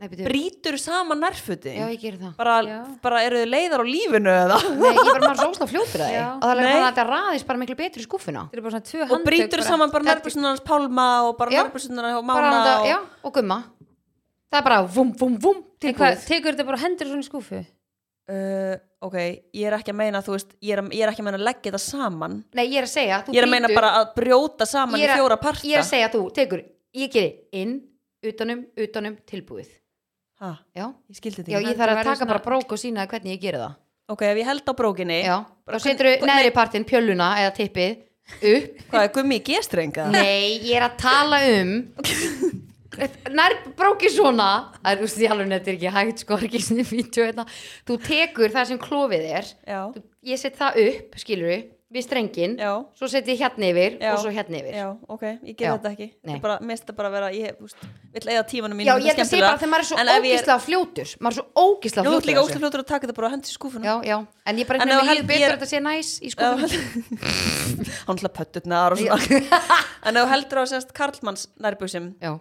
nei, byrju,
brýtur saman nærfötin
já, ég gerir það
bara,
Já.
bara eru þið leiðar á lífinu eða
Nei, ég bara maður svo ósla fljótur að
Já.
því og það er
Nei.
bara að þetta raðist bara miklu betur í skúfuna
þetta er bara svona tvö
og
handtök
brýtur
bara.
saman bara
Þetta-
nærbúsunar hans Pálma og bara
Já.
nærbúsunar hans
bara
Mána
þetta,
og...
já, og gumma það er bara vum, vum, vum
En hvað, tekur þetta bara og hendur svona í skúfu
uh, ok, ég er ekki að meina þú veist, ég er, að- ég er ekki að meina að leggja þetta saman
nei, ég er að segja, þú
ég er að meina
brýtur-
bara að brjóta saman
Ég
í
er að-
fjóra parta
ég er að segja að þú tekur, ég gerir inn utanum, utanum, tilbúið
ha,
já,
ég skildi
já
þetta
ég
ekki.
Þetta
þarf að
verður
taka
svona-
bara brók og sína hvernig ég gerir það
ok, ef ég held á brókinni
já,
Bara
þá setur
hvernig-
þú neðri partinn pjöluna eða tippið upp
hvað er gummi í gestrenga
nei, ég er að tala um nær brókið svona það er, þú veist, ég alveg þetta er ekki hægt sko, ekki sinni vídeo hérna þú tekur það sem klófið er
já,
þú, ég set það upp, skilur við strengin,
já,
svo set ég hérna yfir
Já.
og svo hérna yfir
já ok, ég ger
Já.
þetta ekki
Nei.
Ég bara, mér finnst þetta bara að vera, ég úst, vill eða tímanum mínu
Já, ég held að segja bara þegar maður er
En
svo
ef ég er-
ógíslega fljótur maður er svo ógíslega
nú
fljótur
er líka
á þessu.
óslega fljótur að taka þetta bara og hendi í skúfuna
Já, já, en ég bara
En
einhvern
ef
veginn
held-
líður
ég
betur að
er-
þetta sé næs
Já,
í skoðum
hann hlað pöttutnar og svona en ef þú heldur á sérst Karlmanns nærbúsum
Já,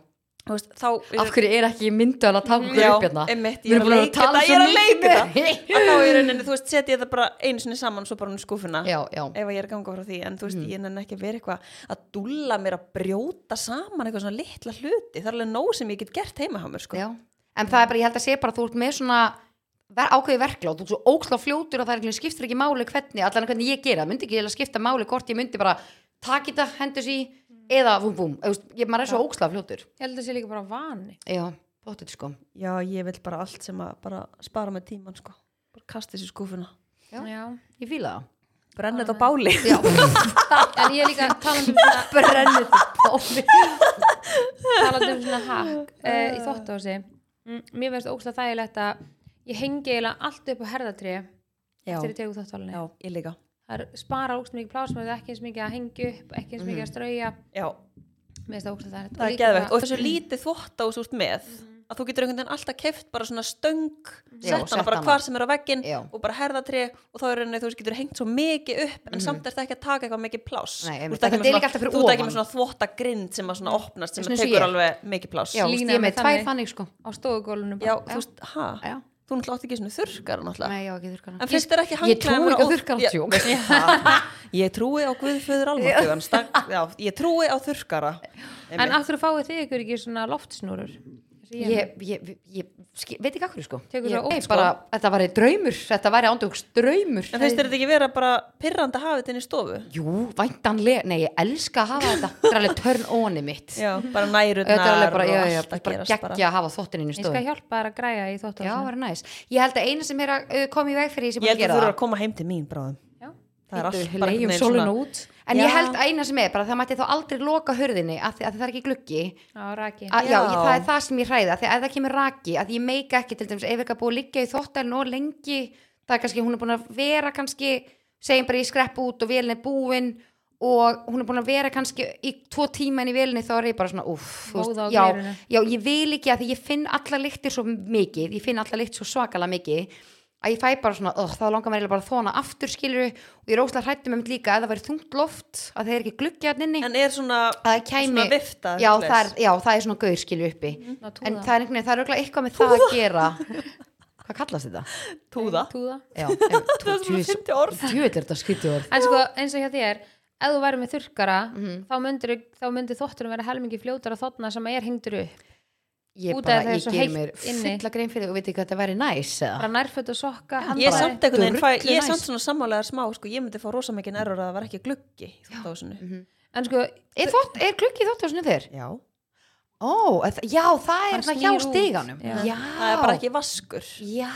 þú veist, þá
af hverju er ekki myndu að taka okkur
Já,
upp hérna?
einmitt,
Við
ég er
erum búin
að
að
leika
tala
þetta,
svo
ég er að leika
mikið.
að þá í rauninni, þú veist, setja þetta bara einu sinni saman svo bara hún í skúfuna
Já, Mm. já,
ef að ég er að ganga frá því, en þú veist, ég nenni ekki að vera eitthvað að dúlla mér að brjóta saman eitthvað svona litla hluti, það er alveg nóg sem ég get gert heima hjá mér, sko
já En það er bara, ég held að segja bara að þú ert með svona ver, ákveði verklátt, þú ert svo ógíslega fljótur og það er einhvern veginn skiptir ekki máli hvernig allan hvernig ég gera, það myndi ekki eiginlega skipta máli hvort ég myndi bara taki þetta, hendur sí eða vum bum, Þú veist, ég- maður er svo ógíslega fljótur
ég held að það sé líka bara vani
Já, bóttið sko
Já, ég vil bara allt sem að bara spara með tíman, sko bara kasta þessi skúfuna,
Já.
Já.
Ég fíla það
brenna þetta á báli
Já,
en ég er líka talandi um svona
brennur báli
talandi um svona hack uh,
Ah.
í þóttási mm, mér finnst ógst að þægilegt að ég hengi eiginlega allt upp á herðatri
Já,
eftir ég tegu þóttálinni
já, ég líka
það er spara ógst mikið plásmöðu ekki eins mikið að hengi upp, ekki eins mikið að strauja
Já,
mér finnst það ógst að þægilegt
Mhm. það er geðvegt og þessu lítið þvótt á þessu út með að þú getur einhvern veginn alltaf keft bara svona stöng
Mhm. Já,
sett hana
sett
bara
hana.
hvar sem er á veggin
Já.
og bara herðatri og þá er henni þú veist getur hengt svo mikið upp en samt er það ekki að taka eitthvað mikið pláss
Mhm. Nei,
þú
einmitt.
ert ekki
Þetta
með
er líka alltaf
svona-
fyrir
þú ert ekki
ofan.
með svona þvóttagrind sem að svona opnast sem
Svona
að
eins og
tekur
ég.
alveg mikið pláss já,
Já,
Lína
veist, ég
með
með tvær
þannig.
þannig sko
á stóðugólunum
þú veist, hæ,
Já.
þú náttúrulega átt ekki svona þurrkar náttúrulega
Nei, já, ekki þurrkana
En finnst þér ekki
Ég trúi ekki á þurrkara, sko. djók.
þurrkara Ég trúi á guðföður almáttugan Ég trúi á þurrkara
en af hverju fáið þið ykkur ekki svona loftsnúrur Eins og ég er með.
Ég, ég, ég ski, veit ekki akkur sko
Tekur
ég,
það út,
nei,
sko.
bara, Þetta væri draumur, þetta væri ándjóks draumur
En finnst þér þetta ekki vera bara pirrandi að hafa þetta inn í stofu?
Jú, væntanlega, nei ég elska að hafa þetta Þetta er alveg törn óni mitt
Já, bara
Þetta er alveg
nærurnar
bara, já,
og
já,
allt að
bara
gerast bara
geggja að hafa þóttininn í
ég skal
stóð Já,
hjálpa þær að græja í
það
þóttálinni
var næs Ég held að eina sem er að uh, koma í veg fyrir því sem
Ég held að
gera
þú eru
það.
að koma heim til mín bráðum Það er
Bíddu,
allt bara einhvern
leigjum
veginn
sólina
svona-
út En
Já.
ég held að eina sem er bara það mætti þá aldrei loka hurðinni að, því- að það er ekki gluggi
já, raki
að, já,
Já.
ég, það er það sem ég hræða því að ef það kemur raki, að ég meika ekki til dæmis ef ekki að búið að liggja í þóttælun og lengi það er kannski, hún er búin að vera kannski segjum bara ég skrepp út og vélin er búin og hún er búin að vera kannski í tvo tíma en í vélinni þá er ég bara svona uff, þú
Móða á
já,
glerinu.
já, ég vil ekki að því ég finn alla lyktir svo mikið, ég finn alla lykt svo svakalega mikið að ég fæ bara svona, oh, þá langar mér eiginlega bara að þóna aftur skilur og ég er óslega hrættum um líka að það væri þungt loft, að það er ekki gluggja hann inni
En er svona,
að það kæmi
svona vifta
já, það er, já, það er svona gaur skilju uppi
Ná, túða.
en það er einhvern veginn, það er auðvitað eitthvað með það að gera hvað kallast þetta?
Túða
túða
Já,
Það er svona 50 orð
djúið er þetta skytið orð
En sko, eins og hjá þér, ef þú væri með þurrkara,
Mhm.
þá, myndir, þá myndir þótturum vera helmingi fljótar að þóttna sem er hengdur upp.
ég
Út af
bara,
því það er
ég
svo
ger
heitt
mér
inni.
fulla grein fyrir og veit ekki hvað þetta væri næs eða?
Bara nærföt og sokka,
Ég er
handbragði.
samt einhvern veginn, fæ-
drullu
ég er
næs.
samt svona sammálegar smá sko, Ég myndi fá rosa mikið error að það var ekki gluggi í þvottáhúsinu.
Mhm.
En sko,
er, þvott, er gluggi þótt á svona þér?
Já
ó, er það- já, það
Hann
er svona
snýr
hjá
út.
stiganum
Já.
já,
Það er bara ekki vaskur
já,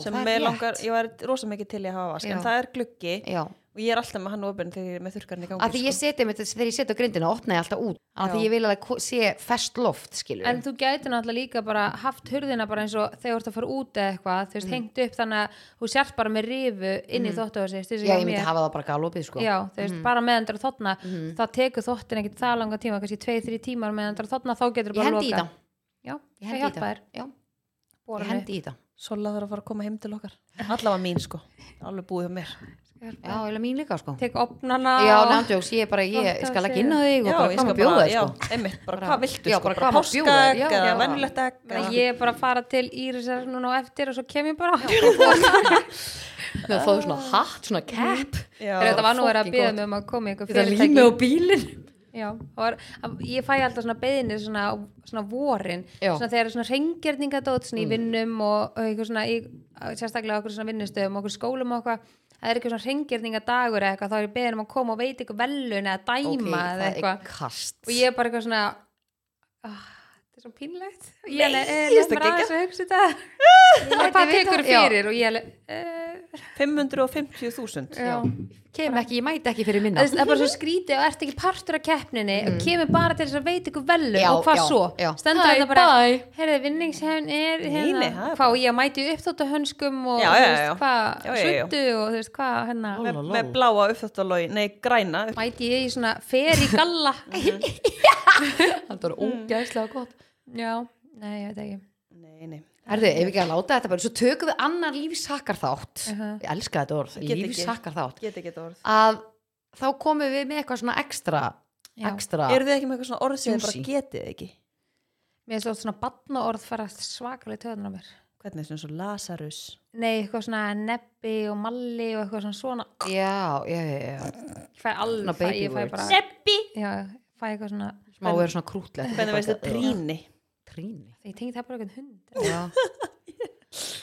sem
það
mig
er
langar,
rétt
ég var rosa mikið til í að hafa vask
Já.
en það er gluggi
já,
og og ég er alltaf með hann opinn þegar ég er með þurrkarinn í gangi sko.
að því ég seti með þess þegar ég seti á grindina opna ég alltaf út að því
Já.
ég vil að það ko- sé fest loft skilur
En þú gæti náttúrulega líka bara haft hurðina bara eins og þegar þú ert að fara út eða eitthvað, þú
Mm.
veist, hengt upp þannig að þú sért bara með rifu inn í mm. þóttuhúsi
já ég myndi hafa það bara galopið sko Mhm. Mm.
Já, þú veist, bara meðan þú er að þotna þá tekur þottin ekkert það langa tíma kannski 2-3 tímar meðan þú er að þotna þá getur
ég
bara
hendi í það
Já,
ég
það
hendi í
hjálpa
það
þér
Já,
Bora
ég
hann
hendi í það
Sola þarf að fara að koma heim til okkar allavega mín sko, alveg búið hjá mér
já eða mín líka sko
upp. Tek opnana
já
og-
nándjóks ég er bara ég
Þótt að
skal
sé-
ekki inn á þig og
já,
bara
ég
koma
skal
að bjóða þér
já,
sko
einmitt, bara
Bara-
hvað viltu
já,
sko,
bara
bara
hvað má bjóða þér,
páskaegg
já,
eða
já.
venjulegt egg
Þannig
eða-
að Ég er bara að fara til Írisar núna á eftir og svo kem ég bara
með að fóðu svona hatt svona cap
Já.
Þegar þetta var nú verið að
Fucking
bíða
gott.
mig um að koma í eitthvað
þetta lími á bílin
Já, það var, að- ég fæ alltaf svona beðinni svona, svona vorin,
Já. Mm.
svona þegar er svona reyngjörningadót svona í vinnum og, og eitthvað svona, í, sérstaklega okkur svona vinnustöðum, okkur skólum og eitthvað það er eitthvað svona reyngjörningadagur eða eitthvað þá er ég beðin um að koma og veita eitthvað velun eða dæma
ok það
eða
er
eitthvað
kast
og ég er bara eitthvað svona ah, þetta er svo pínlegt ég er
ég veist
nefnir
það ekki.
aðeins að hugsa um þetta
læt
hvað
þig vita.
tekur
Já.
fyrir og ég er uh,
550.000
já
kem ekki ég mæti ekki fyrir minna
Þú veist, það er bara svo skrítið og ert ekki partur af keppninni og kemur bara til þess að veit ykkur velum
Já,
og hvað
já,
svo,
já.
stendur
Hæ,
þetta bara
bye.
heyrðu vinningshefn er hérna,
nei, það er
hvað og ég mæti uppþótt á hönskum og
Já,
þú
já,
veist,
já.
hvað
Já, já, já.
suttu og þú veist hvað hérna,
Ó.
með,
Lala,
með
lala.
bláa uppþáttalói nei, græna upp-
mæti ég í svona fer í galla
þetta er
Mm.
ógæðslega gott
já, nei, ég veit ekki
nei, nei.
Erðu, ef við ekki að láta þetta bara, svo tökum við annan lífsakkarþátt,
Uh-huh.
ég elska þetta orð,
Ég get ekki.
lífsakkarþátt,
get ekki þetta orð
að þá komum við með eitthvað svona ekstra,
Já.
ekstra,
eru þið ekki með eitthvað svona orð sem þið bara
Juicy.
getið ekki
mér er svo oft svona batnaorð fara svakalega töðan á mér
hvernig svona svo Lazarus
nei, eitthvað svona neppi og malli og eitthvað svona svona
já, já, já, já,
ég fæ
Svona
alveg,
baby
ég fæ
words.
Ah.
bara
Seppi
já, fæ eitthvað svona
smá verið svona krútlegt.
hvernig veist þið tríni
Tríni.
ég tengi það bara eitthvað hund
Já,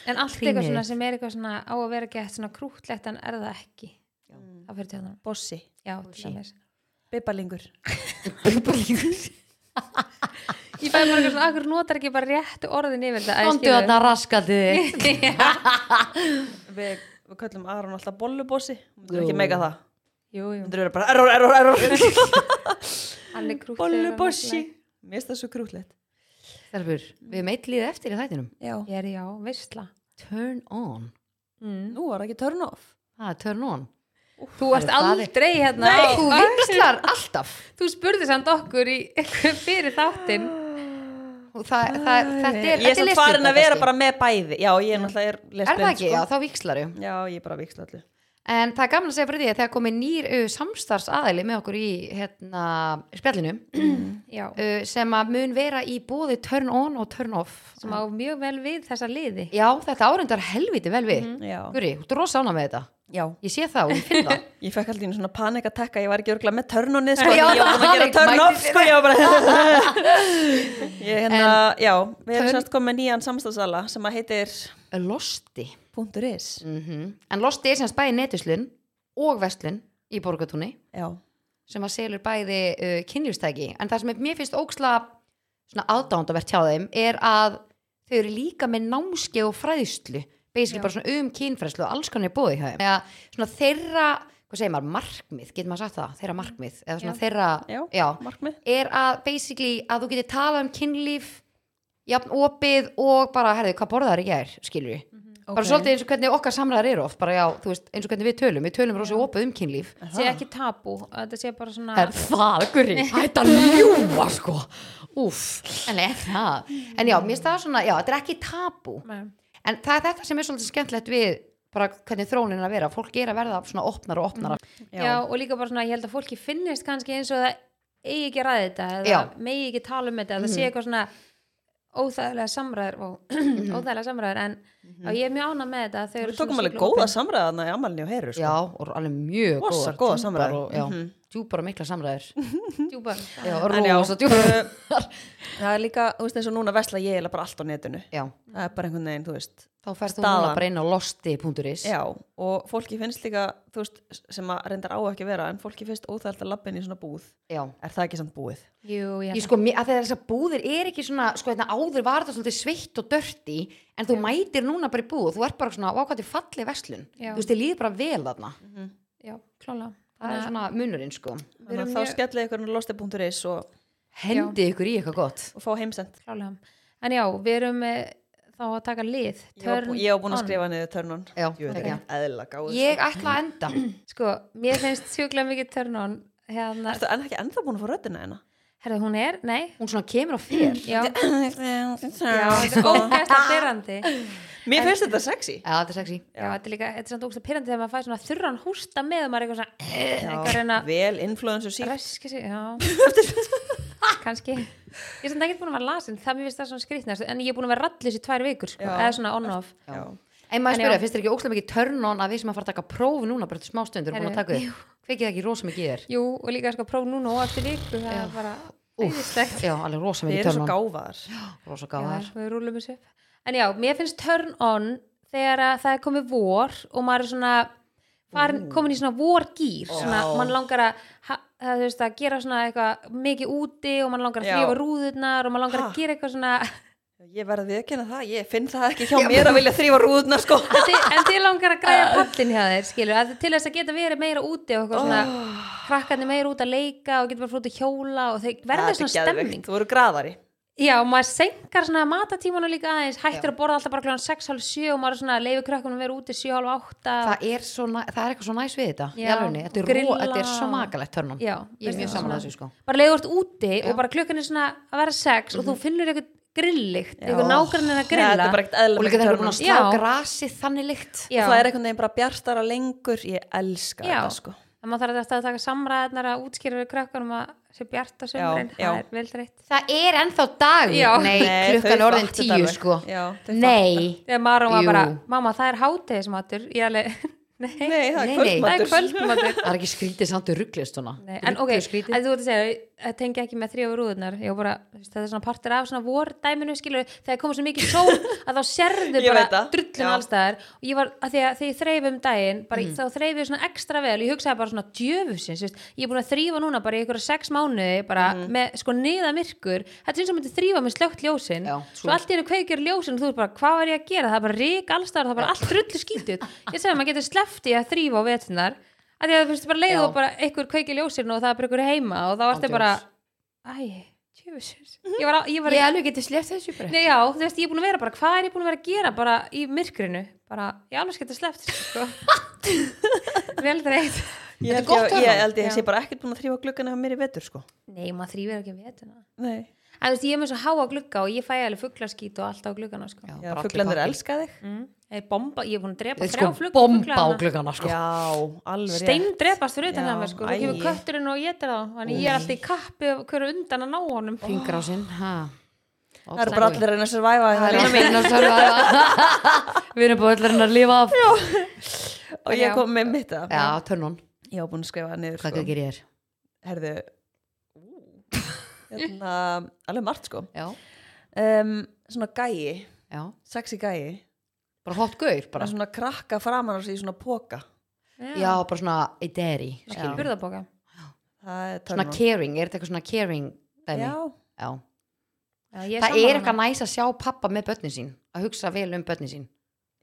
En allt
Hrýnið.
eitthvað svona sem er eitthvað svona á að vera gett svona krútlegt en er það ekki það fyrir tjóðanum
bossi,
Já, til dæmis
bibalingur
Ég fæði bara eitthvað svona, akkur notar ekki bara réttu orðin yfir þetta
kontu þarna raskandi þig.
við, við köllum Aron alltaf bollubossi þú myndir ekki meika það þú
Jú, jú,
myndir vera bara error, error, error
hann er krútlegur og
bollubossi
notalegt.
mér finnst það svo krútlegt
Þarfur, við erum eitt líð eftir í þættinum.
já.
Ég er já, veistla
Turn on.
mm.
nú var ekki turn off
Það er turn on.
Þú ert
það er-
aldrei hérna á-
Þú
á-
vinslar alltaf.
Þú spurði samt okkur í, fyrir þáttinn
Og Það, það, þetta er,
ég er
þetta
samt
lesblinda
farin að vera
kannski.
bara með bæði já, ég er náttúrulega er
Er
lesbian
það ekki? Já,
sko.
þá vikslaru.
já, ég er bara viksla allir
En það er gaman að segja fyrir því að það komi nýr uh, samstarfs með okkur í hérna, spjallinu
Mm.
Já,
uh, sem að mun vera í bóði turn on og turn off.
sem á mjög vel við þessa liði
Já, þetta árendar helviti vel við. Mm.
Mhm. já.
Guri, þú er rosa ánað með þetta.
já,
Ég sé það og ég finn það.
ég fekk alltaf einu svona panik að tekka ég var ekki örgulega með törnunni sko,
Já,
já, ég var búin að gera
panik,
törn
mætti
off sko, ég var bara ég hérna, já, við erum
Turn-
semst komið með nýjan samstagsala sem að heitir
Losti.
.is
Mm En Losti er semst bæði netuslun og vestlun í borgatúni
já,
sem að selur bæði uh, kynlýfstæki. En það sem er, mér finnst óksla svona aðdándavert hjá þeim er að þau eru líka með námskeið og fræðslu basically bara svona um kynfræðslu og alls konar er bóði hjá þeim. Eða svona þeirra, hvað segir maður, markmið, getur maður sagt það? Þeirra markmið, eða svona
Já.
þeirra,
já, markmið
er að basically að þú getur talað um kynlíf jafn opið og bara, herðu, hvað borðar ég er, skilur við bara svolítið eins og hvernig okkar samræðar eru oft bara já, þú veist, eins og hvernig við tölum, við tölum rosa opið um kynlíf
Sé ekki tabú, þetta sé bara svona
er það, gurri, hætt að ljúa sko, úff en er það, en já, mér staða svona já, þetta er ekki tabu
Nei.
en það er þetta sem er svolítið skemmtilegt við bara hvernig þróunin er að vera, fólk er að verða svona opnar og opnar,
já. og líka bara svona, ég held að fólki finnist kannski eins og það eigi ekki að ræða þetta eða
Já.
megi ekki tala um þetta, mm
Mhm.
það sé eitthvað svona óþægilega samræður og óþægilega samræður en og ég er mjög ánað með þetta þau eru
Mhm. við tókum
svona
alveg
sjúklega
góða
opin.
samræðana í amalni og heyru sko.
já, og alveg mjög
Rosa góðar
góðar, djúpar
samræður.
og, já,
Mhm.
djúpar og mikla samræður
djúpar
já,
En já,
rosa djúpar
Eh, það er líka, þú veist eins og núna vesla ég eiginlega bara allt á netinu
já,
það er bara einhvern veginn, þú veist
þá færst þú
Staðan.
núna bara inn á losti.is
já, og fólki finnst líka, þú veist sem að reyndar á ekki að vera, en fólki finnst óþælt að labba inn í svona búð,
já.
er það ekki samt búið?
Jú,
Ég
ég held
sko, mér- að þessar búðir er ekki svona, sko, þetta áður var þetta svolítið sveitt og dörti, en þú mætir núna bara í búð, þú ert bara svona, ákvæmt í falli verslun,
Já.
þú veist, þið líður bara vel þarna
að- já. klála
það er svona munurinn sko
Þannig að þá
mjög-
skellið ykkur á losti.is og,
hendi ykkur í eitthvað gott
og fá heimsend
klála en já, við erum eh, þá að taka lið
ég var, bú-
turn
ég var búin að
on.
skrifa niður törn on
Já,
Jú, þetta
ekki.
er eðla gáð
ég ætla að enda
sko, mér finnst sjúklega mikið turn on hérna,
Ertu enn ekki ennþá búin að fá röddina hérna?
herðu hún er, nei
hún svona kemur á fyrir
já, já, þetta er
Sko,
ógæsta pyrrandi já,
Mér finnst þetta sexy
eða þetta er sexy
þetta er líka, þetta er svona ógæsta pyrrandi þegar maður fær svona þurran hústa með og maður er eitthvað svona eh, eitthvað að reyna
Já, Vel influencer síðan
Ræski sig, já kannski Ég er samt ekki búin að vera lasin, það mér finnst það svona skrýtnast En ég er búin að vera rallus í tvær vikur sko,
Já.
Eða svona on-off
en maður
En
spyrja,
já.
finnst þér ekki óslega mikið törn on að við sem að fara að taka próf núna bara til smá stundur búin að
Herru,
taka upp kveikið það ekki rosa mikið í þér
Jú, og líka sko próf núna og eftir viku Það er bara
Úff,
æðislegt
já, alveg rosa
Þið
mikið
eru
törn
svo
on
gáfaðar
rosa
Já,
gáðar
við rúlum þessu upp En já, mér finnst turn on Þegar að það er komið vor Og maður er svona farin, komin í svona vorgýr Svona,
Já.
mann langar að ha- það, þú veist, að gera svona eitthvað mikið úti og mann langar að
Já.
þrýfa rúðurnar og mann langar
Ha.
að gera eitthvað svona
Ég verði að viðkenna það, ég finn það ekki hjá mér að vilja þrýfa rúðuna sko
En þið- en þið langar að græja pallin hjá þeir skilur, að til þess að geta verið meira úti og eitthvað svona, krakkarnir meira út að leika og geta bara frútt að hjóla og þeir
Það
verður
er
svona
geðveikt,
stemming
Þú voru graðari
já, og maður senkar svona matatímanu líka aðeins, hættir að borða alltaf bara kláðan 6.30 og maður er svona leifir krakkunum að vera úti 7.30
það er, svo, næ- það er eitthvað svo næs við þetta í
Já.
alvegni, þetta er,
Grilla.
ro, þetta er svo makalegt törn on
já,
ég er mjög
svona-
saman að þessu sko
bara leiður þú ert úti og bara klukkan er svona að vera 6 og þú finnur eitthvað grillíkt, eitthvað
Mhm.
nákvæmlega að
Þetta
grilla
er bara ekkert eðla
og líka þegar það er búin að slá
Já.
grasi þannig lykt
Já.
Það er einhvern veginn bara bjartara lengur Ég elska
Já.
þetta sko
að maður þarf alltaf að taka samræðnar að útskýra við krakkunum að sé bjart á sömurinn,
já.
það er vel dreitt
það er ennþá dag
Já.
nei,
Nei,
klukkan
þau
er orðin
fattu þetta
tíu
alveg.
sko
Já, þau
nei,
Þegar Maron var
Jú.
bara, mamma það er hátegismatur Ég alveg, nei,
Nei, það er
Nei, nei.
kvöldmatur
það er kvöldmatur
það er ekki skrítið samt og rugglist svona
Nei, En ok, að þú ert að segja Það tengi ekki með þrjóður úðunar Ég var bara, þú veist, þetta er svona partur af svona vordæminu skilur Þegar komið svo mikið sól að þá sérðu
Ég veit
bara
það, já. Mhm.
drullin allstaðar Og ég var, að því að þegar ég þreif um daginn bara, þá þreif ég svona ekstra vel Ég hugsaði bara svona djöfusins þú veist, Ég er búin að þrýfa núna bara í ykkur sex mánuði bara
Mhm.
með sko niða Þetta er eins og myndi þrýfa með slögt ljósin
Já,
svo allt í hennu kveikir ljósin og þú er bara hvað var ég að gera, það er bara rík allstar það er bara allt rullu skítið ég segi að maður getur slefti að þrýfa á vetunar að því að þú finnst bara leið
Já.
og bara einhver kveikir ljósin og það er bara ykkur heima og þá ertu
Ándjóks.
bara æ, tjöfusins
Mhm.
ég var, á- ég var
ég alveg getið sleft þessu bara
Nei, já, þú veist, ég er búin að vera bara, hvað er ég búin að vera að gera bara í myrkrinu, bara, ég alveg sketa sleppt, sko vel dreitt,
Ég held
gott
ég-
törn
ég
on.
held ég
Já.
sé bara ekkert búin að þrýfa gluggana hjá mér í vetur sko
nei, maður þrýfir ekki um vetuna,
Nei,
en þú veist, ég er með svo háa glugga og ég fæ alveg fugglaskít og allt á gluggana, sko
Já,
Já,
bara allir
fuglandir
pakkir.
elska þig
Mm. Ég, bomba, ég er búin að drepa
Þeir
þrjá
sko
flug
bomba á gluggana sko
Já, alveg
stein drepast fyrir utan
Já,
hjá mér sko þú kemur
æi.
kötturinn og ég það þannig ég er alltaf í kappi og hverju undan að ná honum
fingrásin
Það eru bara allir að reyna að survive
Það er allir að survive. við erum bara allir að lifa af
Og ég kom með mitt að
já, törnun,
Ég var búin að skrifa niður
hvað
sko
gerir ég þér
Herðu Hérna, alveg margt sko
já,
um, Svona gæi,
já,
sexy gæi
bara hot gaur
bara
bara.
svona krakka framan á sig í svona póka
já, bara svona ideri skilur.
burðaboka
það er
svona
törnum
caring, er þetta eitthvað svona caring dæmi?
já,
Já.
það
það er eitthvað næs að sjá pappa með börnin sín að hugsa vel um börnin sín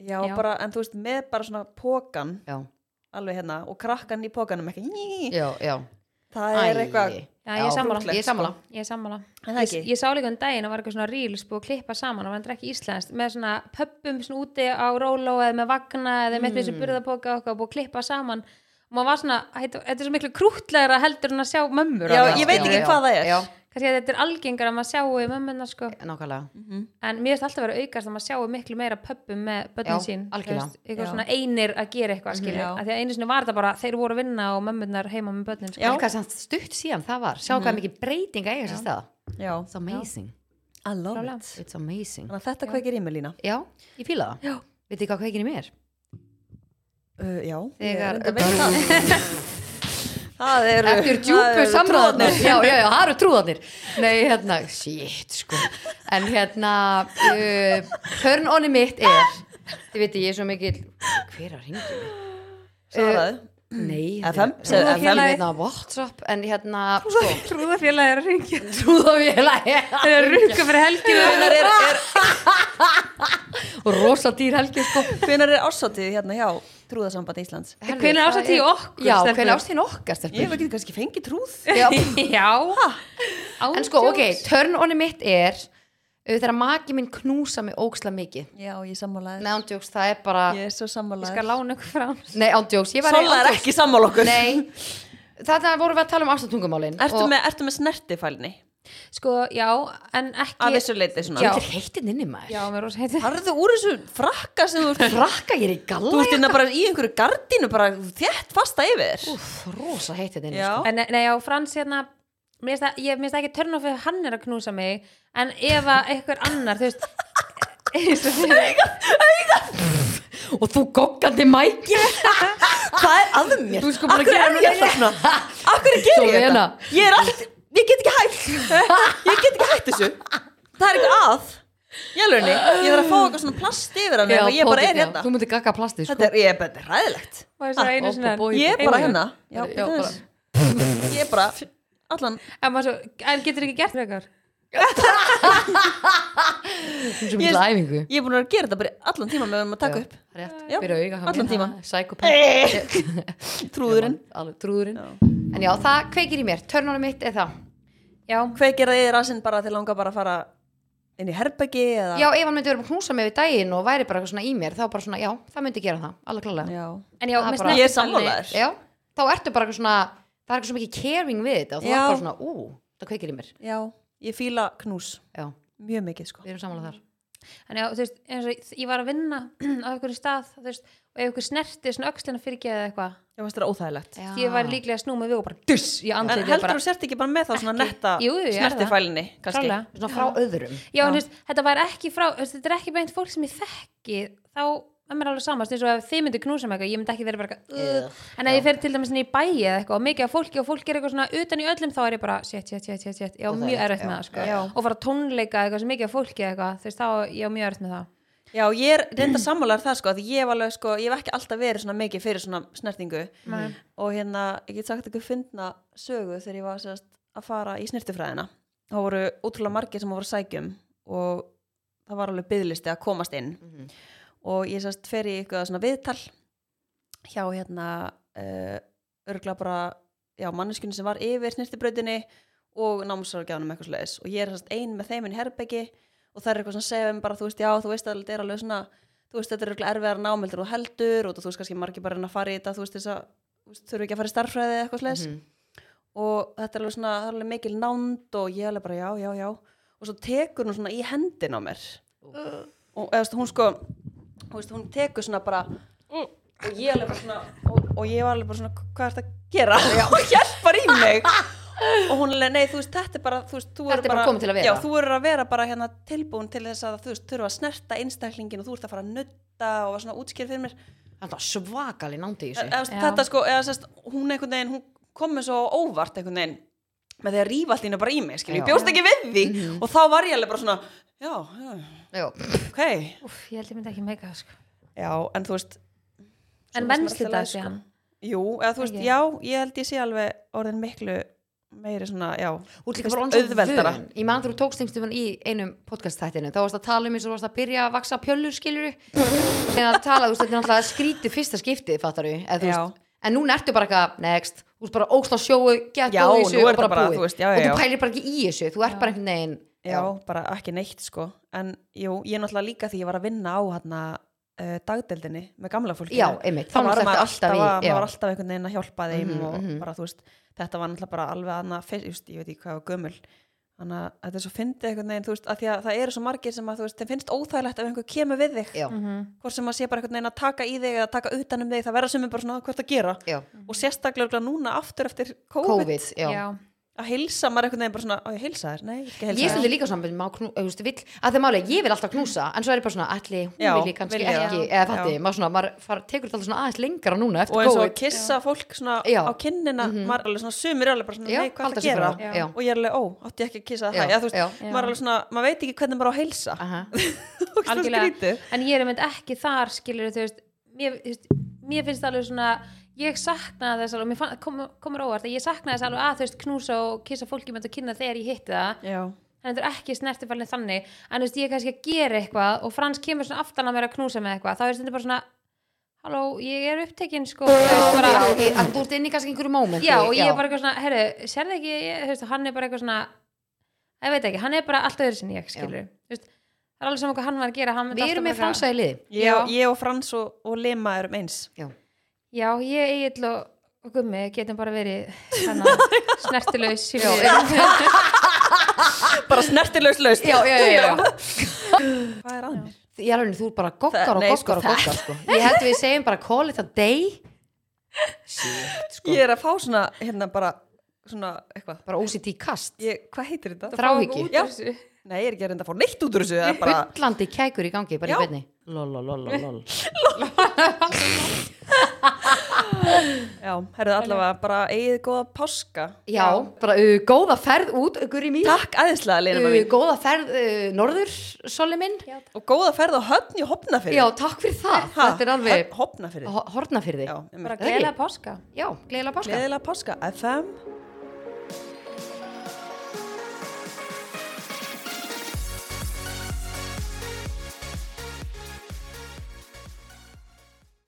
já,
Já.
bara, en þú veist með bara svona pókan
já,
alveg hérna og krakkan í pókanum ekki Ný.
já, já,
það er
Æ.
eitthvað
Já, ég er sammála.
krúttlegt,
Ég er sammála.
sko.
ég er sammála
En það
ég,
ekki?
ég sá líka um daginn að var eitthvað svona reels búið að klippa saman og var hann ekki íslenskt með svona pöppum svona úti á róló eða með vagna eða með
Mm.
þessu burðaboka og eitthvað búið að klippa saman og maður var svona, þetta þetta er svo miklu krútlegra heldur en að sjá mömmur
Já,
alveg,
ég veit
skilur.
ekki hvað það er.
já,
kannski að þetta er algengar að maður sjáu mömmuna sko.
nákvæmlega
Mhm.
en mér finnst alltaf að vera aukast að maður sjáu miklu meira pöppum með
Já,
börnin sín þú
algjörlega. Mhm,
veist, eitthvað
Já.
svona einir að gera eitthvað skilur,
Já.
mm því að einu sinni var þetta bara þeir voru að vinna og mömmunar heima með börnin sko.
en hvað sem stutt síðan það var sjá hvað mikið breytinga eiga sér stað
Mhm. já,
it's amazing,
I love
Klálega.
it
it's amazing
þannig að þetta kveikir í mig lína
já, ég fíla það veit ekki hvað kveikir í mér
uh, já,
Þegar-
ég reyndar veit það það eru
eftir
það
djúpu
eru
samræðanir
trúarnir.
já, já, já, það eru trúðanir nei, hérna, shit, sko en hérna uh, turn onni mitt er þið veit ég er svo mikill hver að ringi mig?
Svaraðu.
nei,
FM,
þetta-
segðu FM.
Trúðafélagið- hérna, Whatsapp en hérna, sko,
trúðafélagi er að ringja
trúðafélagi
þeir eru að rukka fyrir helginu
hvenær er, er,
og rosa dýr helgi, sko
hvenær er ársatið hérna hjá trúðasamband Íslands
Herðu,
Hvenær
það
árshátíð
er- Já,
okkar, stelpur?
hvernig ástíðin
Ég
okkar,
hef
stelpur?
ekki kannski fengið trúð
Já,
Já
en sko, ok,
Átjóns.
törn onni mitt er uh, þegar maki minn knúsa mig óksla mikið
Já, ég sammálaði
Nei, ándjóks, það er bara
Ég er svo
Ég skal
sammálaði
lána ykkur fram
Nei, ándjóks, ég var
Sola er ekki sammála okkur
Nei, þarna vorum við að tala um ástundungumálin
Ertu með, ertu með snertifælni?
Sko, já, en
Að
ekki
þessu leiti svona
Já.
Þetta er heitin inni maður
Já, mér rosa heiti
Harðu úr þessu frakka sem þú ert
Frakka ég er í
Þú
galla
ert hérna bara í einhverju gardínu bara þétt fasta yfir þér.
Úff, rosa heitin inni
Já.
sko.
En nei, já, Frans hérna mér finnst það- Ég minnst ekki törn of ef hann er að knúsa mig En ef að einhver annar, þú veist eins og þið-
Og þú goggandi mæki
Hvað er að mér?
Þú sko
Af
bara
hverju
gera
er
mér
ég alltaf svona? Akkur er gerir
Svo
ég
vena.
þetta? Ég er allt, ég get ekki hægt Ég get ekki hægt þessu Það er eitthvað að Ég alveg, ég þarf að fá eitthvað svona plast yfir hann
Já,
Ég bara er
pottþétt, já.
hérna
Þú myndir gagga plastið sko.
Þetta er, ég er bara, þetta er ræðilegt
Og þess að
Ah, ó,
einu sinni
bó, bó,
enn.
í-
Ég er bara hérna Já,
Já,
bíddu aðeins. Ég er bara, allan
En maður svo, en getur ekki gert frekar
Þú
Ég-
sem mikla æfingu
Ég er búin að vera að gera þetta bara allan tíma með um að taka upp
Rétt,
Já,
byrja auga hérna
allan tímann.
Sækopenn
Trúðurinn
Trúðurinn
Já.
En já, það kveikir í mér Törnunum mitt er það
Já,
Kveikir það yfir asinn bara að þið langar bara að fara inn í herbeggi eða
Já, ef hann myndi vera að knúsa mig við daginn og væri bara eitthvað svona í mér þá bara svona, já, það myndi gera það, alveg klálega
Já.
en já,
Það
með
bara-
snertifælni-
Ég er sammálaður
Já, þá ertu bara eitthvað svona það er eitthvað svo mikið caring við þetta og þú
Já.
er bara svona, ú, það kveikir í mér
Já, ég fíla knús
Já,
mjög mikið sko
við erum samanlega þar
En já, þú veist, eins og ég- ég var að vinna á einhverju stað, þú veist, og ef einhver snerti svona öxlina fyrir ekki eða eitthvað,
Ég veist þetta óþægilegt
já.
ég var líklega að snúma við og bara duss, ég
En
andliti
heldur
bara.
þú sért ekki bara með þá svona netta
Jú, jú, ég er það.
snertifælinni kannski
Klálega.
Svona frá öðrum
Já, en þú veist, þetta var ekki frá, þú veist, þetta er ekki beint fólk sem ég þekki, þá er mér alveg samast, eins og ef þið myndu knúsa mig eitthvað, ég myndi ekki verið bara eitthvað,
Ugh,
uh, en ef ég fer til dæmis inn í bæi eða eitthvað, og mikið af fólki og fólk er eitthvað svona utan í öllum, þá er ég bara, shit, shit, shit, shit, shit, ég á
Það er
mjög
rétt,
erfitt með
já.
það, sko,
Já.
og fara á tónleika eitthvað sem mikið af fólki eða eitthvað, þú veist, þá ég á mjög erfitt með það.
Já, ég er reynda sammálar það sko að ég hef alveg sko, ég hef ekki alltaf verið svona mikið fyrir svona snertingu
Nei.
og hérna, ég get sagt ykkur fyndna sögu þegar ég var sérst að fara í snertifræðina þá voru útrúlega margir sem voru að sækjum og það var alveg byðlisti að komast inn
Mhm.
og ég sérst fer í eitthvað svona viðtal hjá hérna uh, örgla bara já, manneskjunni sem var yfir snirtibrautinni og námsráðgjáðanum eitthvað slæðis og ég er sérst ein með þeim inn í herbeggi og það er eitthvað svona að segja um bara þú veist já, þú veist að þetta er alveg svona þú veist þetta er örgla erfiðar námeldur og þú heldur og þú veist kannski margir bara að reyna að fara í þetta þú veist þess að þú veist, þurfi ekki að fara í starffræði eða eitthvað slæðis
Mhm.
og þetta er alveg svona það er alveg mikil nánd og ég er alveg bara já, já, já og svo tekur hún svona í hendin á mér og eða, þú veist, hún sko þú veist, hún tekur svona bara og ég alveg bara svona og, og ég var alveg bara svona, hvað er þetta að gera og hjálpar í mig og hún alveg, nei, þú veist, þetta er bara þú veist, þú
Þetta
verður
er bara komið til að vera.
já, þú verður að vera bara hérna tilbúin til þess að þú veist, þurfa að snerta einstaklingin og þú ert að fara að nutta og var svona útskýr fyrir mér
Það er svakali nándi í
E-
þessu
eða,
Já.
þetta sko, eða sérst, hún einhvern veginn hún komið svo á óvart einhvern veginn með því að rífa allt í hennu bara í mig, skilju, ég
Já.
bjóst ekki við því og þá var ég alveg bara svona, já, já
Já,
ok,
Úff, ég held ég myndi ekki meika það, sko.
já, en þú veist
En
Svo finnst mér
mennslita
alltaf leið,
síðan.
jú, eða þú veist,
Ekki?
já, ég held ég sé alveg orðin miklu meiri svona, já
Þú ert
þú
líka
veist,
bara orðin svo
auðveldara.
vön. Ég man þegar þú tókst einhvern í einum podcast-þættinu þá varst að tala um eins og þú varst að byrja að vaksa pjöllur skilur en að tala, þú veist, þetta er náttúrulega skrítið fyrsta skiptið, fattar þú
Já.
veist, en núna ertu bara eitthvað, next þú veist bara óksla sjóu, gett
Já,
góð í þessu
nú er
og bara
þetta bara,
búið
þú veist, já,
og
já,
þú
já.
pælir bara ekki í þessu, þú ert bara einhvern veginn
já, bara ekki neitt sko en jú, ég náttúrulega líka því ég var að vinna á hérna uh, dagdeldinni með gamla fólki
Já, einmitt, þá
þá var
náttúrulega
maður
ertu
alltaf,
alltaf í-
að,
já.
maður var alltaf einhvern veginn að hjálpa þeim
Mhm,
og
mhm.
bara þú veist, þetta var náttúrulega bara alveg annað, fyrst, just, ég veit ekki hvað var gömul þannig að þetta er svo fyndið einhvern veginn þú veist, að því að það eru svo margir sem að þú veist þeim finnst óþægilegt ef einhver kemur við þig
já,
hvort sem að sé bara einhvern veginn að taka í þig eða taka utan um þig, það verða sem er bara svona hvað ertu að gera
já,
og sérstaklega örugglega núna aftur eftir COVID,
Mhm. COVID já.
Já.
að hilsa maður einhvern veginn bara svona, á ég að hilsa þér, nei, ég vil ekki
Ég
hilsa
stundi líka saman með knú, þú veist, vill, að það máli, ég vil alltaf knúsa en svo er ég bara svona, allir, hún
Já,
vil ég kannski
vilja.
ekki
Já.
eða þetta, maður svona, maður far, tekur þetta alltaf svona aðeins lengra núna
og
eftir
eins og
COVID
að kissa fólk svona
Já. Mhm.
á kinnina maður er alveg svona sumir er alveg bara svona
Já,
nei hvað
halda
það
sig
gera
frá, Já. já.
og ég er alveg ó, átti ég ekki að kissa það
Já,
hæ já, þú veist,
já.
maður er alveg svona, maður veit ekki hvernig maður á að heilsa
Aha.
og svona
algjörlega,
skrítið
en ég er mynd ekki þar skilur þú veist mér, þú veist, mér finnst alveg svona ég saknaði þess alveg, mér fann, kom, komur óvart að ég saknaði þess alveg að þú veist knúsa og kissa fólki með þetta kynna þegar ég hitti það
já,
en þetta er ekki snertifælni þannig en þú veist ég er kannski að gera eitthvað og Frans kemur svona aftan að mér að knúsa með eitthvað þá er þetta bara svona halló, ég er upptekinn sko
bara,
bara,
já, að þú ert inn í kannski einhverju mómenti
já, og ég er bara eitthvað svona, herru, sérðu ekki ég, þú veist, hann er bara eitthvað svona ég veit ekki, hann er bara allt öðru sinni ég, skilur þú veist, það er alveg saman hvað hann var að gera hann myndi
við
alltaf
erum með
bara eitthvað-
fransa í liði
Ég,
Já.
ég og Frans og, og Lema erum eins.
já,
já, ég, Egil og, og Gummi getum bara verið þannig, snertilaus já,
Bara snertilaus laust.
já, já, já, já.
Hvað er að mér?
Ég er alveg, þú er bara goggar og
Nei, sko,
goggar og goggar sko. ég held við segjum bara call it a day shit, sko
Ég er að fá svona, hérna bara, svona eitthvað.
bara OCD kast,
Ég, hvað heitir þetta?
þráhyggju
Já. Nei, ég er ekki að reynda að fá neitt út úr þessu. Það er bara,
hullandi kækur í gangi, bara
Já.
í beinni lololololol
já, herðu allavega bara eigið góða páska.
já, bara uh, góða ferð út ykkur í mín,
Takk aðeinslega, Lena
uh,
maður.
góða ferð uh, norður, soli minn já,
Og góða ferð á höfn í hopnafyrir.
takk fyrir það, þetta er alveg
Hopnafyrir.
horna fyrir þig
Já,
bara
einmitt.
Er það ekki?
gæla páska
já, gleðilega páska
Gleðilega páska, FM.